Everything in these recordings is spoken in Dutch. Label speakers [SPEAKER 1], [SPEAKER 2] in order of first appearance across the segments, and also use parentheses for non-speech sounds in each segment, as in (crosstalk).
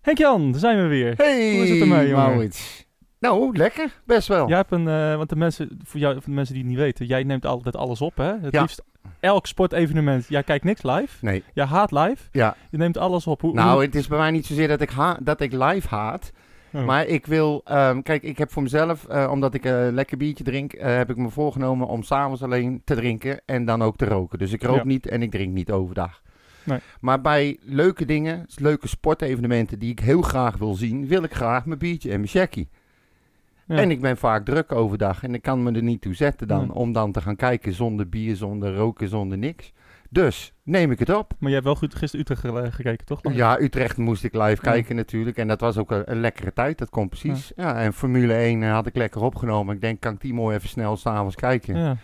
[SPEAKER 1] Henk-Jan, daar zijn we weer.
[SPEAKER 2] Hey,
[SPEAKER 1] Hoe is het ermee, jongen?
[SPEAKER 2] Maurits? Nou, lekker. Best wel.
[SPEAKER 1] Jij hebt een, eh, want de mensen, voor, jou, voor de mensen die het niet weten, jij neemt altijd alles op, hè? Het
[SPEAKER 2] Ja.
[SPEAKER 1] liefst elk sportevenement. Jij kijkt niks live.
[SPEAKER 2] Nee.
[SPEAKER 1] Jij haat live.
[SPEAKER 2] Ja.
[SPEAKER 1] Je neemt alles op. Hoe,
[SPEAKER 2] Nou, het is bij mij niet zozeer dat ik, ha- dat ik live haat.
[SPEAKER 1] hoe- oh.
[SPEAKER 2] Maar ik wil... ehm, kijk, ik heb voor mezelf, eh, omdat ik een lekker biertje drink, eh, heb ik me voorgenomen om s'avonds alleen te drinken en dan ook te roken. Dus ik rook
[SPEAKER 1] Ja.
[SPEAKER 2] niet en ik drink niet overdag.
[SPEAKER 1] Nee.
[SPEAKER 2] Maar bij leuke dingen, leuke sportevenementen die ik heel graag wil zien, wil ik graag mijn biertje en mijn checkie.
[SPEAKER 1] Ja.
[SPEAKER 2] En ik ben vaak druk overdag en ik kan me er niet toe zetten dan
[SPEAKER 1] Nee.
[SPEAKER 2] om dan te gaan kijken zonder bier, zonder roken, zonder niks. Dus neem ik het op.
[SPEAKER 1] Maar jij hebt wel goed gisteren Utrecht gele- gekeken, toch?
[SPEAKER 2] Oh, Ja, Utrecht moest ik live kijken natuurlijk en dat was ook een, een lekkere tijd, dat komt precies. Ja. en Formule 1 had ik lekker opgenomen. Ik denk, kan ik die mooi even snel s'avonds kijken. Ja.
[SPEAKER 1] ja. Het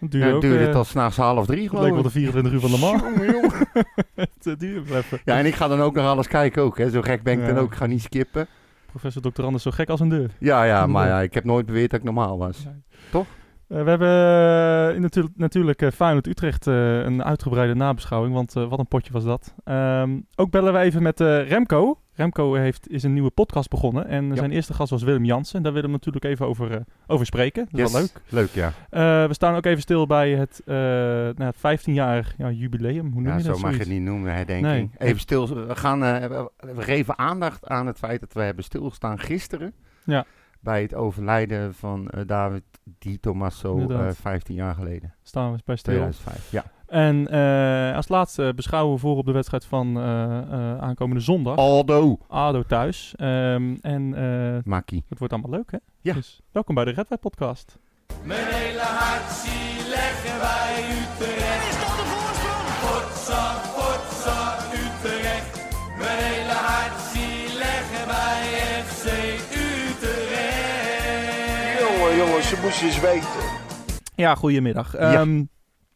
[SPEAKER 2] En
[SPEAKER 1] duurde ook,
[SPEAKER 2] duurde
[SPEAKER 1] eh,
[SPEAKER 2] het al s'nachts half drie
[SPEAKER 1] het leek wel
[SPEAKER 2] geloof
[SPEAKER 1] de
[SPEAKER 2] ik.
[SPEAKER 1] 24 uur van
[SPEAKER 2] (laughs)
[SPEAKER 1] de man.
[SPEAKER 2] Jongen, jongen.
[SPEAKER 1] (laughs) Het duurde wel even.
[SPEAKER 2] Ja, en ik ga dan ook nog alles kijken ook, hè. Zo gek ben ik
[SPEAKER 1] Ja.
[SPEAKER 2] dan ook, ik ga niet skippen.
[SPEAKER 1] Professor Dr. Anders, zo gek als een deur.
[SPEAKER 2] Ja, ja, maar
[SPEAKER 1] Inderdaad.
[SPEAKER 2] ja, ik heb nooit beweerd dat ik normaal was.
[SPEAKER 1] Eh, we hebben eh, in natu- natuurlijk eh Feyenoord Utrecht eh, een uitgebreide nabeschouwing, want eh, wat een potje was dat. Ehm, ook bellen we even met eh, Remco. Remco heeft, is een nieuwe podcast begonnen en zijn eerste gast was Willem Jansen. Daar willen we natuurlijk even over, eh, over spreken. Dat is wel leuk.
[SPEAKER 2] Leuk, ja.
[SPEAKER 1] Eh, we staan ook even stil bij het, eh, nou, het 15-jarig ja, jubileum. Hoe noem
[SPEAKER 2] Ja,
[SPEAKER 1] je
[SPEAKER 2] zo
[SPEAKER 1] dat?
[SPEAKER 2] mag je
[SPEAKER 1] zoiets?
[SPEAKER 2] het niet noemen, herdenking.
[SPEAKER 1] Nee.
[SPEAKER 2] Even stil. We, gaan, eh, we- we geven aandacht aan het feit dat we hebben stilgestaan gisteren.
[SPEAKER 1] Ja.
[SPEAKER 2] Bij het overlijden van eh, David Di Tommaso eh
[SPEAKER 1] Inderdaad.
[SPEAKER 2] 15 jaar geleden.
[SPEAKER 1] Staan we bij stil.
[SPEAKER 2] 2005. Ja.
[SPEAKER 1] En eh, als laatste beschouwen we voor op de wedstrijd van eh, eh, aankomende zondag.
[SPEAKER 2] Oh. Aldo
[SPEAKER 1] ADO thuis. Ehm, en eh,
[SPEAKER 2] Maki.
[SPEAKER 1] Het wordt allemaal leuk, hè?
[SPEAKER 2] Ja.
[SPEAKER 1] Dus welkom bij de Red White Podcast.
[SPEAKER 3] Mijn hele hart zie leggen wij Utrecht. Is dat de voorsprong? Potsa, potsa, Utrecht. Mijn hele hart zie leggen wij FC Utrecht.
[SPEAKER 4] Jongen, jongen, ze moest eens weten.
[SPEAKER 1] Ja, goedemiddag. Ehm,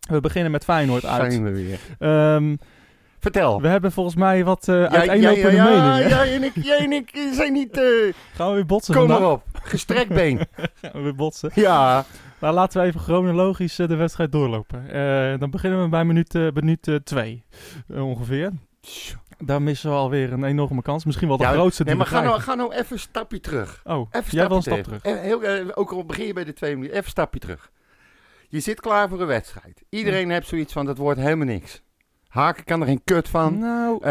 [SPEAKER 1] We beginnen met Feyenoord uit.
[SPEAKER 2] Zijn we weer.
[SPEAKER 1] Ehm,
[SPEAKER 2] Vertel.
[SPEAKER 1] we hebben volgens mij wat eh
[SPEAKER 2] Jij-
[SPEAKER 1] uiteenlopende
[SPEAKER 2] jij- ja,
[SPEAKER 1] meningen.
[SPEAKER 2] jij en ik, jij en ik eh, zijn niet... eh
[SPEAKER 1] Gaan we weer botsen (laughs)
[SPEAKER 2] kom
[SPEAKER 1] vandaag?
[SPEAKER 2] maar op. Gestrekt been.
[SPEAKER 1] Gaan we weer botsen.
[SPEAKER 2] ja.
[SPEAKER 1] Maar laten we even chronologisch eh, de wedstrijd doorlopen. Eh, dan beginnen we bij minuut 2 minuut, eh, twee, eh, ongeveer. Daar missen we alweer een enorme kans. Misschien wel de
[SPEAKER 2] Ja,
[SPEAKER 1] grootste die
[SPEAKER 2] Nee, maar
[SPEAKER 1] we
[SPEAKER 2] ga nou,
[SPEAKER 1] krijgen.
[SPEAKER 2] ga nou even een stapje terug.
[SPEAKER 1] Oh,
[SPEAKER 2] Even
[SPEAKER 1] jij wil een
[SPEAKER 2] stapje
[SPEAKER 1] stap terug.
[SPEAKER 2] Eh, Heel, eh, ook al begin je bij de twee minuten, even een stapje terug. Je zit klaar voor een wedstrijd. Iedereen heeft zoiets van, dat wordt helemaal niks. Haken kan er geen kut van.
[SPEAKER 1] Nou,
[SPEAKER 2] Eh,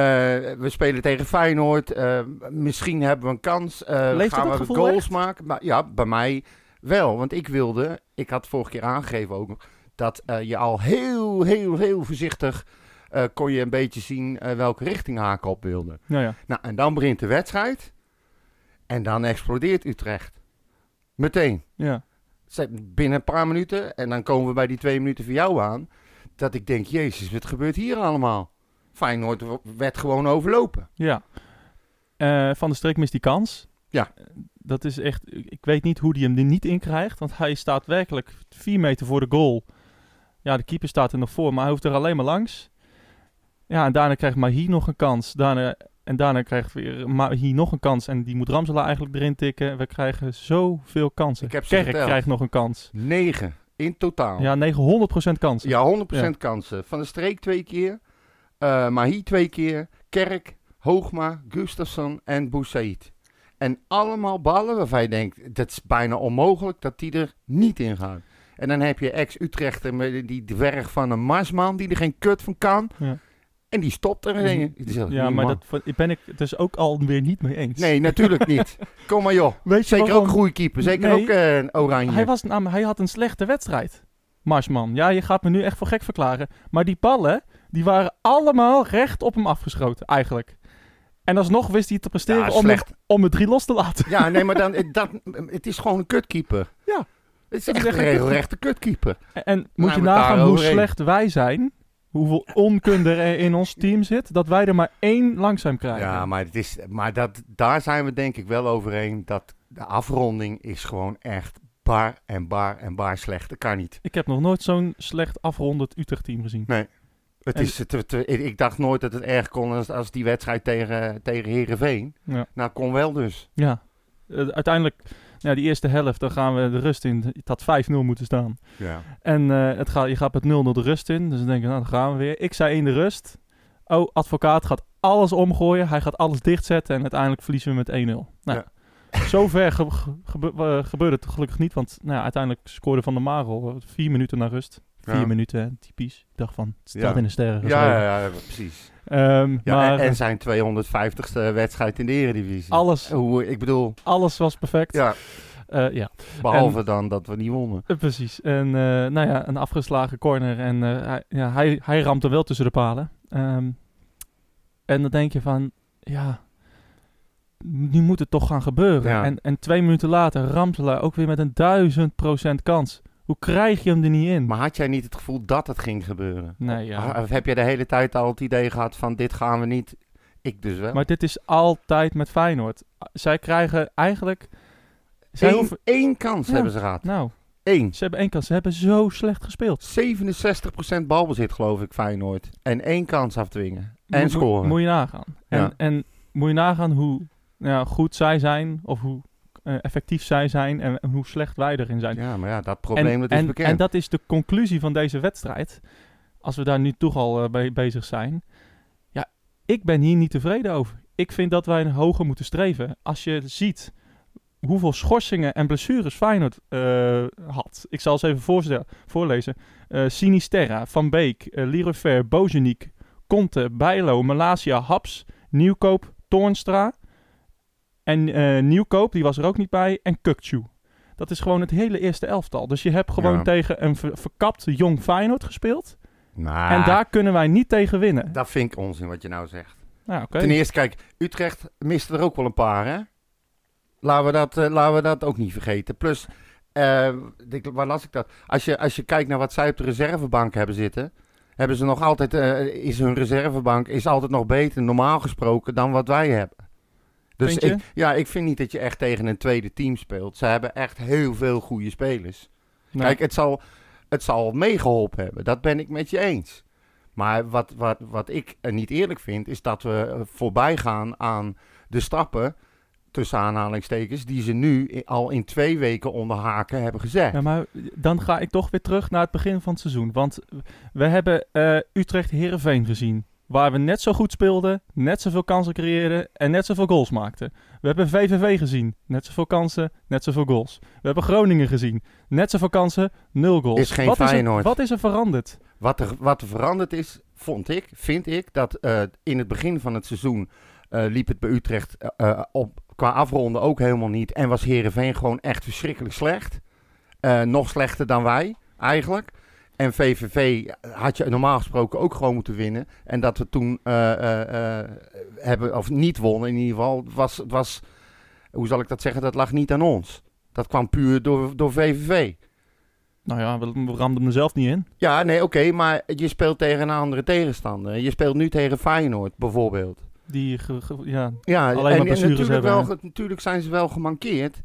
[SPEAKER 2] we spelen tegen Feyenoord. Eh, misschien hebben we een kans. Eh,
[SPEAKER 1] Leeft
[SPEAKER 2] gaan
[SPEAKER 1] dat
[SPEAKER 2] we
[SPEAKER 1] gevoel
[SPEAKER 2] goals
[SPEAKER 1] echt?
[SPEAKER 2] maken? Maar, ja, bij mij wel. Want ik wilde, ik had vorige keer aangegeven ook nog, dat eh, je al heel, heel, heel voorzichtig eh, kon je een beetje zien eh, welke richting Haken op wilde.
[SPEAKER 1] nou ja.
[SPEAKER 2] Nou, en dan begint de wedstrijd. En dan explodeert Utrecht. Meteen.
[SPEAKER 1] ja.
[SPEAKER 2] Zij- Binnen een paar minuten. En dan komen we bij die twee minuten van jou aan. Dat ik denk, jezus, wat gebeurt hier allemaal? Feyenoord w- werd gewoon overlopen.
[SPEAKER 1] Ja. Eh, van de Streek mist die kans. Eh,
[SPEAKER 2] Ja.
[SPEAKER 1] Dat is echt... Ik ik weet niet hoe die hem er niet in krijgt. Want hij staat werkelijk vier meter voor de goal. Ja, de keeper staat er nog voor. Maar hij hoeft er alleen maar langs. Ja, en daarna krijgt Mahi nog een kans. Daarna, en daarna krijgt weer Mahi nog een kans. En die moet Ramselaar eigenlijk erin tikken. We krijgen zoveel kansen.
[SPEAKER 2] Ik heb ze
[SPEAKER 1] Kerk
[SPEAKER 2] geteld. Oh.
[SPEAKER 1] krijgt nog een kans.
[SPEAKER 2] Negen in totaal. Ja,
[SPEAKER 1] Ja, 900% kansen.
[SPEAKER 2] 100% kansen. Van de streek twee keer. eh Mahi twee keer. Kerk, Hoogma, Gustafsson en Boussaïd. En allemaal ballen waarvan je denkt, dat is bijna onmogelijk dat die er niet in gaan. En dan heb je ex-Utrechter met die dwerg van een Marsman die er geen kut van kan.
[SPEAKER 1] Ja.
[SPEAKER 2] En die stopt er
[SPEAKER 1] Mhm.
[SPEAKER 2] een. Het is echt
[SPEAKER 1] Ja,
[SPEAKER 2] niet
[SPEAKER 1] maar
[SPEAKER 2] normaal.
[SPEAKER 1] dat ben ik dus ook alweer niet mee eens.
[SPEAKER 2] Nee, natuurlijk
[SPEAKER 1] (laughs)
[SPEAKER 2] niet. Kom maar joh.
[SPEAKER 1] Weet je
[SPEAKER 2] Zeker ook
[SPEAKER 1] waarom?
[SPEAKER 2] een goede keeper. Zeker
[SPEAKER 1] Nee.
[SPEAKER 2] ook eh, een oranje.
[SPEAKER 1] Hij, was, namelijk- hij had een slechte wedstrijd. Marsman, ja, je gaat me nu echt voor gek verklaren. Maar die ballen, die waren allemaal recht op hem afgeschoten, eigenlijk. En alsnog wist hij te presteren
[SPEAKER 2] Ja,
[SPEAKER 1] om, hem,
[SPEAKER 2] slecht.
[SPEAKER 1] om het drie los te
[SPEAKER 2] (laughs)
[SPEAKER 1] laten.
[SPEAKER 2] Ja, nee, maar dan, eh, dat, het is gewoon een kutkeeper.
[SPEAKER 1] Ja.
[SPEAKER 2] Het is
[SPEAKER 1] Het is
[SPEAKER 2] echt
[SPEAKER 1] echt een
[SPEAKER 2] een regelrechte kutkeeper.
[SPEAKER 1] En, en moet je
[SPEAKER 2] we Nou, daar
[SPEAKER 1] nagaan hoe
[SPEAKER 2] overheen.
[SPEAKER 1] slecht wij zijn, hoeveel onkunde er in ons team zit, dat wij er maar één langzaam krijgen.
[SPEAKER 2] Ja, maar, het is, maar dat, daar zijn we denk ik wel overheen. Dat de afronding is gewoon echt bar en bar en bar slecht. Dat kan niet.
[SPEAKER 1] Ik heb nog nooit zo'n slecht afrondend Utrecht-team gezien.
[SPEAKER 2] Het
[SPEAKER 1] En-
[SPEAKER 2] is, het- het- ik- ik dacht nooit dat het erg kon als, als die wedstrijd tegen, tegen Heerenveen.
[SPEAKER 1] Ja.
[SPEAKER 2] Nou, kon wel dus.
[SPEAKER 1] Ja, Eh, uiteindelijk, ja, die eerste helft, dan gaan we de rust in. Het had 5-0 moeten staan.
[SPEAKER 2] Ja.
[SPEAKER 1] En eh, het gaat, je gaat met 0-0 de rust in. Dus dan denk ik, nou, dan gaan we weer. Ik zei in de rust. Oh, advocaat gaat alles omgooien. Hij gaat alles dichtzetten en uiteindelijk verliezen we met 1-0. Nou,
[SPEAKER 2] Ja.
[SPEAKER 1] (laughs) zover ge- ge- gebe- eh, gebeurde het gelukkig niet. Want nou, ja, uiteindelijk scoorde Van der Marel eh, vier minuten na rust. Vier
[SPEAKER 2] Ja.
[SPEAKER 1] minuten, hè, typisch. Ik dacht van, het staat
[SPEAKER 2] Ja.
[SPEAKER 1] in de sterren geschreven.
[SPEAKER 2] Ja, ja, ja, precies.
[SPEAKER 1] Ehm,
[SPEAKER 2] Ja,
[SPEAKER 1] maar
[SPEAKER 2] en, en zijn 250ste wedstrijd in de Eredivisie.
[SPEAKER 1] alles,
[SPEAKER 2] Hoe, ik bedoel,
[SPEAKER 1] alles was perfect.
[SPEAKER 2] ja,
[SPEAKER 1] Eh, ja.
[SPEAKER 2] behalve dan dat we niet wonnen.
[SPEAKER 1] Eh, precies. En eh, nou ja, een afgeslagen corner. En eh, hij, ja, hij, hij ramt er wel tussen de palen. Ehm, en dan denk je van, ja, nu moet het toch gaan gebeuren.
[SPEAKER 2] Ja.
[SPEAKER 1] En, en twee minuten later ramt hij ook weer met een duizend procent kans. Hoe krijg je hem er niet in?
[SPEAKER 2] Maar had jij niet het gevoel dat het ging gebeuren?
[SPEAKER 1] Hm. nee, ja.
[SPEAKER 2] Of heb jij de hele tijd al het idee gehad van dit gaan we niet? Ik dus wel.
[SPEAKER 1] maar dit is altijd met Feyenoord. Zij krijgen eigenlijk... Zij
[SPEAKER 2] Eén,
[SPEAKER 1] hoeven,
[SPEAKER 2] één kans
[SPEAKER 1] Ja.
[SPEAKER 2] hebben ze gehad.
[SPEAKER 1] nou,
[SPEAKER 2] Eén.
[SPEAKER 1] ze hebben één kans. Ze hebben zo slecht gespeeld.
[SPEAKER 2] 67% balbezit geloof ik Feyenoord. En één kans afdwingen. En
[SPEAKER 1] Moet-
[SPEAKER 2] scoren.
[SPEAKER 1] Moet je nagaan. En,
[SPEAKER 2] Ja.
[SPEAKER 1] en moet je nagaan hoe nou ja, goed zij zijn, of hoe eh, effectief zij zijn en, hoe slecht wij erin zijn.
[SPEAKER 2] Ja, maar ja, dat
[SPEAKER 1] en,
[SPEAKER 2] probleem dat is
[SPEAKER 1] en,
[SPEAKER 2] bekend.
[SPEAKER 1] en dat is de conclusie van deze wedstrijd. Als we daar nu toch al eh, mee bezig zijn. Ja, ik ben hier niet tevreden over. Ik vind dat wij een hoger moeten streven. Als je ziet hoeveel schorsingen en blessures Feyenoord eh, had. Ik zal eens even voorstel- voorlezen. Eh, Sinisterra, Van Beek, eh Leroy Fer, Bozeniek, Conte, Bijlo, Malasia, Haps, Nieuwkoop, Toornstra. En eh, Nieuwkoop, die was er ook niet bij. En Kukcu. Dat is gewoon het hele eerste elftal. Dus je hebt gewoon
[SPEAKER 2] Ja.
[SPEAKER 1] tegen een ver- verkapt jong Feyenoord gespeeld.
[SPEAKER 2] Nou,
[SPEAKER 1] En daar kunnen wij niet tegen winnen.
[SPEAKER 2] dat vind ik onzin wat je nou zegt.
[SPEAKER 1] Nou, oké.
[SPEAKER 2] Ten e- eerste, kijk, Utrecht miste er ook wel een paar, hè? Laten we dat, eh, laten we dat ook niet vergeten. Plus, eh, ik- waar las ik dat? Als je, als je kijkt naar wat zij op de reservebank hebben zitten, hebben ze nog altijd, eh, is hun reservebank is altijd nog beter, normaal gesproken, dan wat wij hebben. Dus
[SPEAKER 1] Vind je?
[SPEAKER 2] Ik, ja, ik vind niet dat je echt tegen een tweede team speelt. Ze hebben echt heel veel goede spelers.
[SPEAKER 1] Nou,
[SPEAKER 2] Kijk, het zal, het zal meegeholpen hebben. Dat ben ik met je eens. Maar wat, wat, wat ik eh, niet eerlijk vind, is dat we eh, voorbij gaan aan de stappen, tussen aanhalingstekens, die ze nu i- al in twee weken onder haken hebben gezet.
[SPEAKER 1] Ja, maar dan ga ik toch weer terug naar het begin van het seizoen. Want we hebben eh, Utrecht-Herenveen gezien. Waar we net zo goed speelden, net zoveel kansen creëerden en net zoveel goals maakten. We hebben VVV gezien. Net zoveel kansen, net zoveel goals. We hebben Groningen gezien. Net zoveel kansen, nul goals.
[SPEAKER 2] Is geen
[SPEAKER 1] wat, is er,
[SPEAKER 2] Feyenoord.
[SPEAKER 1] wat is er veranderd?
[SPEAKER 2] Wat, er, wat er veranderd is, vond ik, vind ik, dat eh, in het begin van het seizoen eh, liep het bij Utrecht eh, eh, op, qua afronden ook helemaal niet. En was Herenveen gewoon echt verschrikkelijk slecht. Eh, nog slechter dan wij, eigenlijk. En VVV had je normaal gesproken ook gewoon moeten winnen. En dat we toen eh, eh, eh, hebben, of niet wonnen in ieder geval, was, was, hoe zal ik dat zeggen, dat lag niet aan ons. Dat kwam puur door, door VVV.
[SPEAKER 1] Nou ja, we, we ramden hem er zelf niet in.
[SPEAKER 2] Ja, nee, oké, maar je speelt tegen een andere tegenstander. Je speelt nu tegen Feyenoord bijvoorbeeld.
[SPEAKER 1] Die ge- ge- ja,
[SPEAKER 2] Ja,
[SPEAKER 1] Alleen
[SPEAKER 2] en,
[SPEAKER 1] maar
[SPEAKER 2] en
[SPEAKER 1] blessures
[SPEAKER 2] natuurlijk,
[SPEAKER 1] hebben,
[SPEAKER 2] wel,
[SPEAKER 1] hè?
[SPEAKER 2] ge- natuurlijk zijn ze wel gemankeerd.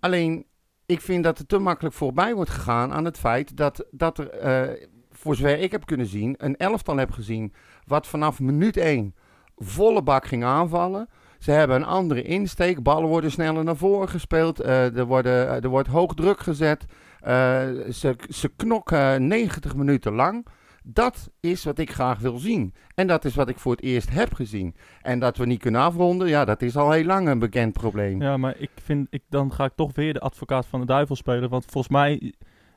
[SPEAKER 2] Alleen, ik vind dat er te makkelijk voorbij wordt gegaan aan het feit dat, dat er, eh, voor zover ik heb kunnen zien, een elftal heb gezien wat vanaf minuut 1 volle bak ging aanvallen. Ze hebben een andere insteek. Ballen worden sneller naar voren gespeeld. eh, er, worden, eh, er wordt hoog druk gezet. Eh, ze, ze knokken 90 minuten lang. Dat is wat ik graag wil zien. En dat is wat ik voor het eerst heb gezien. En dat we niet kunnen afronden, ja, dat is al heel lang een bekend probleem.
[SPEAKER 1] Ja, maar ik vind, ik, dan ga ik toch weer de advocaat van de duivel spelen. Want volgens mij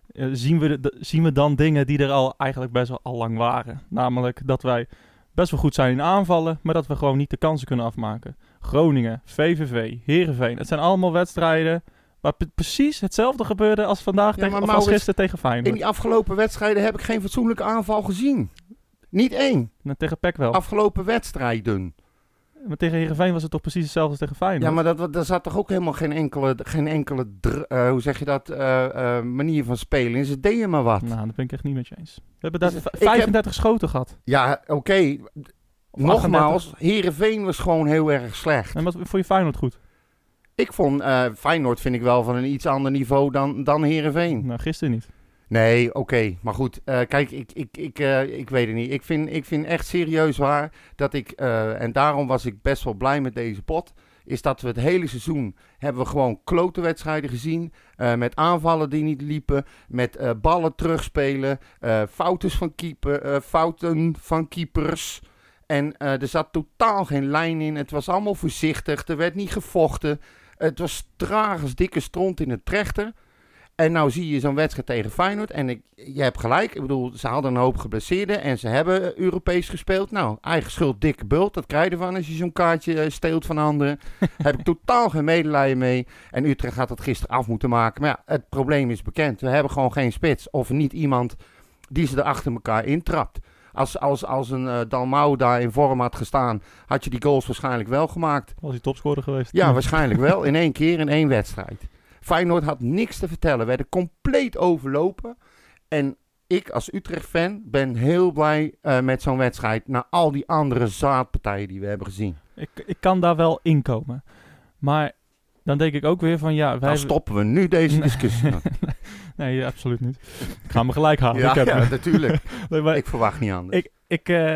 [SPEAKER 1] eh, zien, we de- de- zien we dan dingen die er al eigenlijk best wel al lang waren. Namelijk dat wij best wel goed zijn in aanvallen, maar dat we gewoon niet de kansen kunnen afmaken. Groningen, VVV, Heerenveen, het zijn allemaal wedstrijden waar pre- precies hetzelfde gebeurde als vandaag
[SPEAKER 2] Ja,
[SPEAKER 1] tegen,
[SPEAKER 2] maar
[SPEAKER 1] of als
[SPEAKER 2] Maurits,
[SPEAKER 1] gisteren tegen
[SPEAKER 2] In
[SPEAKER 1] Feyenoord.
[SPEAKER 2] die afgelopen wedstrijden heb ik geen fatsoenlijke aanval gezien. Niet één.
[SPEAKER 1] En Nou, Tegen PEC wel.
[SPEAKER 2] Afgelopen wedstrijden.
[SPEAKER 1] Maar tegen Heerenveen was het toch precies hetzelfde als tegen Feyenoord?
[SPEAKER 2] Ja, maar dat, wa- daar zat toch ook helemaal geen enkele, geen enkele dr- eh, hoe zeg je dat, eh, eh, manier van spelen in. Ze deden maar wat.
[SPEAKER 1] Nou, dat ben ik echt niet met je eens. We hebben daar
[SPEAKER 2] Dus
[SPEAKER 1] v-
[SPEAKER 2] ik heb-
[SPEAKER 1] 35 schoten gehad.
[SPEAKER 2] Ja, oké.
[SPEAKER 1] Of 38.
[SPEAKER 2] Nogmaals, Herenveen was gewoon heel erg slecht.
[SPEAKER 1] En wat vond je Feyenoord goed?
[SPEAKER 2] Ik vond eh, Feyenoord vind ik wel van een iets ander niveau dan, dan Herenveen.
[SPEAKER 1] Nou, gisteren niet.
[SPEAKER 2] Nee, oké. Maar goed, eh, kijk, ik, ik, ik, eh, ik weet het niet. Ik vind, ik vind echt serieus waar dat ik, eh, en daarom was ik best wel blij met deze pot, is dat we het hele seizoen hebben we gewoon klote wedstrijden gezien. eh, met aanvallen die niet liepen, met eh, ballen terugspelen, eh fouten van keeper, eh, fouten van keepers. En eh, er zat totaal geen lijn in. Het was allemaal voorzichtig. Er werd niet gevochten. Het was traag als dikke stront in het trechter. En nou zie je zo'n wedstrijd tegen Feyenoord. En ik, je hebt gelijk. Ik bedoel, ze hadden een hoop geblesseerden. En ze hebben eh, Europees gespeeld. Nou, eigen schuld, dikke bult. Dat krijg je ervan als je zo'n kaartje eh, steelt van anderen. heb ik totaal geen medelijden mee. En Utrecht had dat gisteren af moeten maken. Maar ja, het probleem is bekend. We hebben gewoon geen spits. Of niet iemand die ze er achter elkaar intrapt. Als, als, als een eh, Dalmau daar in vorm had gestaan, had je die goals waarschijnlijk wel gemaakt.
[SPEAKER 1] Was hij topscorer geweest?
[SPEAKER 2] Ja, waarschijnlijk wel. In één keer, in één wedstrijd. Feyenoord had niks te vertellen. Werden compleet overlopen. En ik als Utrecht-fan ben heel blij eh, met zo'n wedstrijd. Na al die andere zaadpartijen die we hebben gezien.
[SPEAKER 1] Ik, ik kan daar wel inkomen. Maar dan denk ik ook weer van ja, wij.
[SPEAKER 2] Dan stoppen we nu deze
[SPEAKER 1] (laughs)
[SPEAKER 2] discussie.
[SPEAKER 1] Nee, absoluut niet. Ik ga me gelijk halen.
[SPEAKER 2] ja,
[SPEAKER 1] ik heb
[SPEAKER 2] ja,
[SPEAKER 1] hem. (laughs)
[SPEAKER 2] natuurlijk.
[SPEAKER 1] Nee, maar
[SPEAKER 2] Ik verwacht niet anders.
[SPEAKER 1] Ik, ik, eh,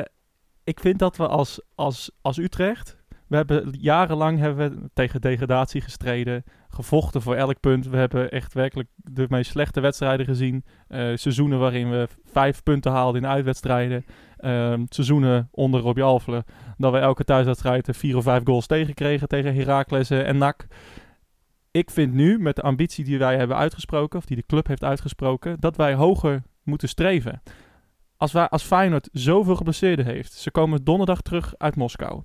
[SPEAKER 1] ik vind dat we als, als, als Utrecht. We hebben jarenlang hebben we tegen degradatie gestreden. Gevochten voor elk punt. We hebben echt werkelijk de meest slechte wedstrijden gezien. Eh, seizoenen waarin we vijf punten haalden in uitwedstrijden. Ehm, seizoenen onder Robbie Alfelen. Dat we elke thuiswedstrijd eh, vier of vijf goals tegenkregen tegen Heracles eh, en NAC. Ik vind nu, met de ambitie die wij hebben uitgesproken, of die de club heeft uitgesproken, dat wij hoger moeten streven als, wij, als Feyenoord zoveel geblesseerden heeft, ze komen donderdag terug uit Moskou.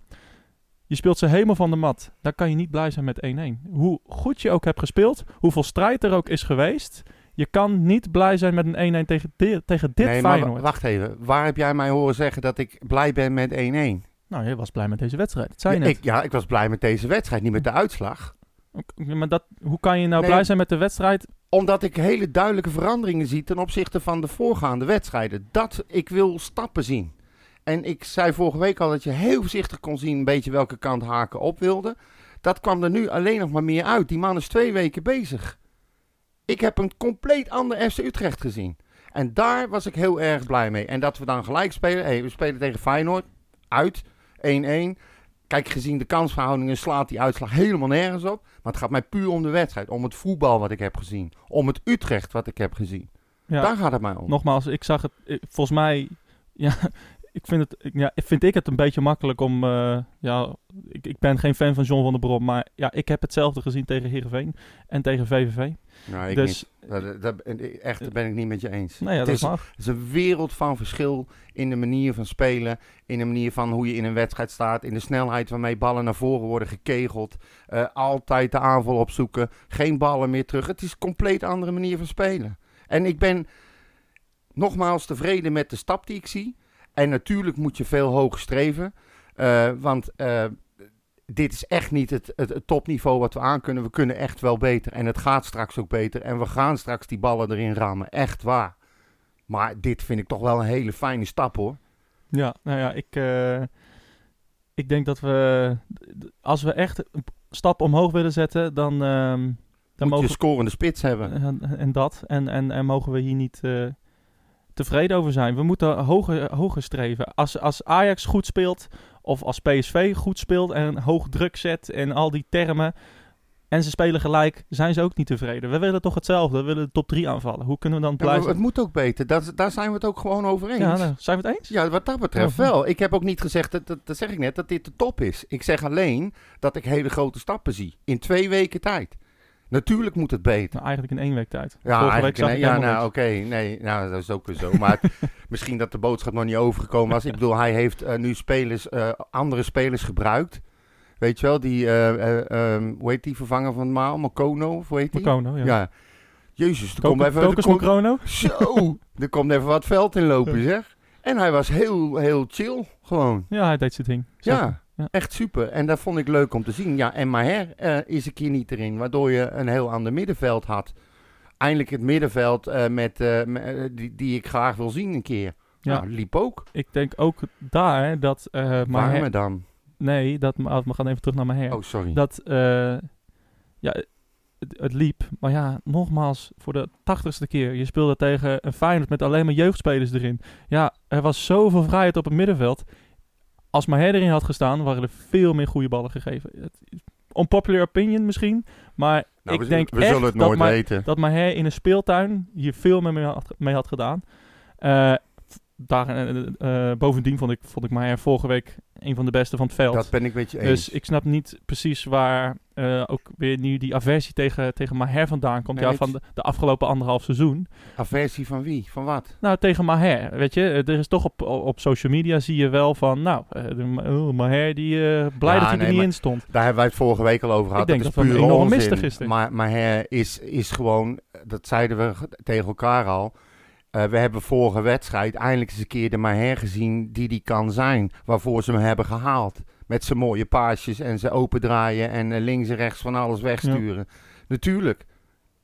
[SPEAKER 1] Je speelt ze helemaal van de mat. Dan kan je niet blij zijn met 1-1. Hoe goed je ook hebt gespeeld, hoeveel strijd er ook is geweest, je kan niet blij zijn met een 1-1 tegen, di- tegen dit
[SPEAKER 2] nee, maar
[SPEAKER 1] Feyenoord.
[SPEAKER 2] wa- wacht even. Waar heb jij mij horen zeggen dat ik blij ben met 1-1?
[SPEAKER 1] Nou, je was blij met deze wedstrijd. Dat zei je
[SPEAKER 2] Ja,
[SPEAKER 1] net.
[SPEAKER 2] ik, ja, ik was blij met deze wedstrijd, niet met de uitslag.
[SPEAKER 1] Ook- Maar dat, hoe kan je nou
[SPEAKER 2] Nee.
[SPEAKER 1] blij zijn met de wedstrijd?
[SPEAKER 2] Omdat ik hele duidelijke veranderingen zie ten opzichte van de voorgaande wedstrijden. Dat ik wil stappen zien. En ik zei vorige week al dat je heel voorzichtig kon zien een beetje welke kant haken op wilde. Dat kwam er nu alleen nog maar meer uit. Die man is twee weken bezig. Ik heb een compleet ander FC Utrecht gezien. En daar was ik heel erg blij mee. En dat we dan gelijk spelen. Hey, we spelen tegen Feyenoord. Uit. 1-1. Kijk, gezien de kansverhoudingen slaat die uitslag helemaal nergens op. Maar het gaat mij puur om de wedstrijd. Om het voetbal wat ik heb gezien. Om het Utrecht wat ik heb gezien.
[SPEAKER 1] Ja.
[SPEAKER 2] Daar gaat het mij om.
[SPEAKER 1] Nogmaals, ik zag het. eh, Volgens mij. Ja, (laughs) ik vind, het, ik- ja, vind ik het een beetje makkelijk om. eh, ja, ik, ik ben geen fan van John van der Brom. Maar ja, ik heb hetzelfde gezien tegen Heerenveen en tegen VVV.
[SPEAKER 2] Nou, ik
[SPEAKER 1] dus
[SPEAKER 2] niet. Dat, dat- echt, daar ben ik niet met je eens.
[SPEAKER 1] nou ja,
[SPEAKER 2] Het
[SPEAKER 1] dat
[SPEAKER 2] is-
[SPEAKER 1] mag.
[SPEAKER 2] Het is een wereld van verschil in de manier van spelen, in de manier van hoe je in een wedstrijd staat, in de snelheid waarmee ballen naar voren worden gekegeld, eh, altijd de aanval opzoeken, geen ballen meer terug. Het is een compleet andere manier van spelen. En ik ben nogmaals tevreden met de stap die ik zie. En natuurlijk moet je veel hoger streven, eh, want eh, dit is echt niet het, het, het topniveau wat we aan kunnen. We kunnen echt wel beter en het gaat straks ook beter en we gaan straks die ballen erin rammen, echt waar. Maar dit vind ik toch wel een hele fijne stap hoor.
[SPEAKER 1] Ja, nou ja, ik. eh, ik denk dat we. d- Als we echt een p- stap omhoog willen zetten, dan. ehm, dan
[SPEAKER 2] Moet
[SPEAKER 1] mogen Eh,
[SPEAKER 2] je scorende spits hebben.
[SPEAKER 1] En, en dat. En, en, en mogen we hier niet eh, tevreden over zijn. We moeten hoger, hoger streven. Als, als Ajax goed speelt, of als PSV goed speelt en hoog druk zet en al die termen. En ze spelen gelijk, zijn ze ook niet tevreden. We willen toch hetzelfde. We willen de top 3 aanvallen. Hoe kunnen we dan
[SPEAKER 2] Ja, maar
[SPEAKER 1] blij
[SPEAKER 2] het
[SPEAKER 1] zijn?
[SPEAKER 2] moet ook beter. Dat, daar zijn we het ook gewoon over eens.
[SPEAKER 1] Ja,
[SPEAKER 2] Ja,
[SPEAKER 1] nou, zijn we het eens?
[SPEAKER 2] wat dat betreft
[SPEAKER 1] Ja.
[SPEAKER 2] wel. Ik heb ook niet gezegd, dat, dat, dat zeg ik net, dat dit de top is. Ik zeg alleen dat ik hele grote stappen zie. In twee weken tijd. Natuurlijk moet het beter.
[SPEAKER 1] Nou, eigenlijk in één week tijd.
[SPEAKER 2] Ja,
[SPEAKER 1] Vorige week
[SPEAKER 2] eigenlijk,
[SPEAKER 1] zag
[SPEAKER 2] nee,
[SPEAKER 1] ik
[SPEAKER 2] ja
[SPEAKER 1] helemaal
[SPEAKER 2] nou oké.
[SPEAKER 1] niks.
[SPEAKER 2] nee, nou, dat is ook weer zo. Maar
[SPEAKER 1] (laughs)
[SPEAKER 2] het- misschien dat de boodschap nog niet overgekomen was. Ik bedoel, hij heeft eh, nu spelers, eh, andere spelers gebruikt. Weet je wel, die, eh, eh, ehm, hoe heet die vervanger van Maal? Makono, of hoe heet die?
[SPEAKER 1] Mekono, ja.
[SPEAKER 2] Ja. Jezus, er komt
[SPEAKER 1] Koken-
[SPEAKER 2] even... Er
[SPEAKER 1] Kokos
[SPEAKER 2] komt,
[SPEAKER 1] Mekono?
[SPEAKER 2] zo, er komt even wat veld in lopen, zeg. En hij was heel, heel chill, gewoon.
[SPEAKER 1] Ja, hij deed zijn ding. Zeker.
[SPEAKER 2] Ja,
[SPEAKER 1] Ja.
[SPEAKER 2] echt super. En dat vond ik leuk om te zien. Ja, en Maher eh, is een keer niet erin, waardoor je een heel ander middenveld had. Eindelijk het middenveld eh, met, eh, me- eh, die, die ik graag wil zien een keer.
[SPEAKER 1] Ja.
[SPEAKER 2] Ja, liep ook.
[SPEAKER 1] Ik denk ook daar dat... eh
[SPEAKER 2] Maar
[SPEAKER 1] maar
[SPEAKER 2] dan?
[SPEAKER 1] nee, dat, maar we gaan even terug naar Maher.
[SPEAKER 2] Oh, sorry.
[SPEAKER 1] dat eh, ja, het, het liep. Maar ja, nogmaals, voor de tachtigste keer. Je speelde tegen een Feyenoord met alleen maar jeugdspelers erin. Ja, er was zoveel vrijheid op het middenveld. Als Maher erin had gestaan, waren er veel meer goede ballen gegeven. Het, unpopular opinion misschien, maar
[SPEAKER 2] Nou,
[SPEAKER 1] ik
[SPEAKER 2] we-
[SPEAKER 1] denk
[SPEAKER 2] we zullen
[SPEAKER 1] echt
[SPEAKER 2] het nooit
[SPEAKER 1] dat, Ma-
[SPEAKER 2] weten.
[SPEAKER 1] dat Maher in een speeltuin hier veel meer mee had, mee had gedaan. Eh, daar, eh, eh, bovendien vond ik, vond ik Maier vorige week een van de beste van het veld.
[SPEAKER 2] Dat ben ik met je eens.
[SPEAKER 1] Dus ik snap niet precies waar eh, ook weer nu die aversie tegen, tegen Maher vandaan komt.
[SPEAKER 2] Nee,
[SPEAKER 1] Ja,
[SPEAKER 2] ik-
[SPEAKER 1] van de, de afgelopen anderhalf seizoen.
[SPEAKER 2] Aversie van wie? Van wat?
[SPEAKER 1] Nou, tegen Maher, weet je. eh, Er is toch op, op social media zie je wel van, nou, eh, de Ma- oh, Maher die eh, blij
[SPEAKER 2] Ja,
[SPEAKER 1] dat hij
[SPEAKER 2] nee,
[SPEAKER 1] er niet
[SPEAKER 2] maar-
[SPEAKER 1] in stond.
[SPEAKER 2] Daar hebben wij het vorige week al over gehad.
[SPEAKER 1] Ik denk
[SPEAKER 2] dat is
[SPEAKER 1] dat we
[SPEAKER 2] pure
[SPEAKER 1] enorm
[SPEAKER 2] onzin.
[SPEAKER 1] mistig is, denk ik.
[SPEAKER 2] Maar, maar hij is, is gewoon, dat zeiden we g- tegen elkaar al. eh, we hebben vorige wedstrijd eindelijk eens een keer de Maher gezien die die kan zijn. Waarvoor ze hem hebben gehaald. Met zijn mooie paasjes en ze opendraaien en eh, links en rechts van alles wegsturen. Natuurlijk.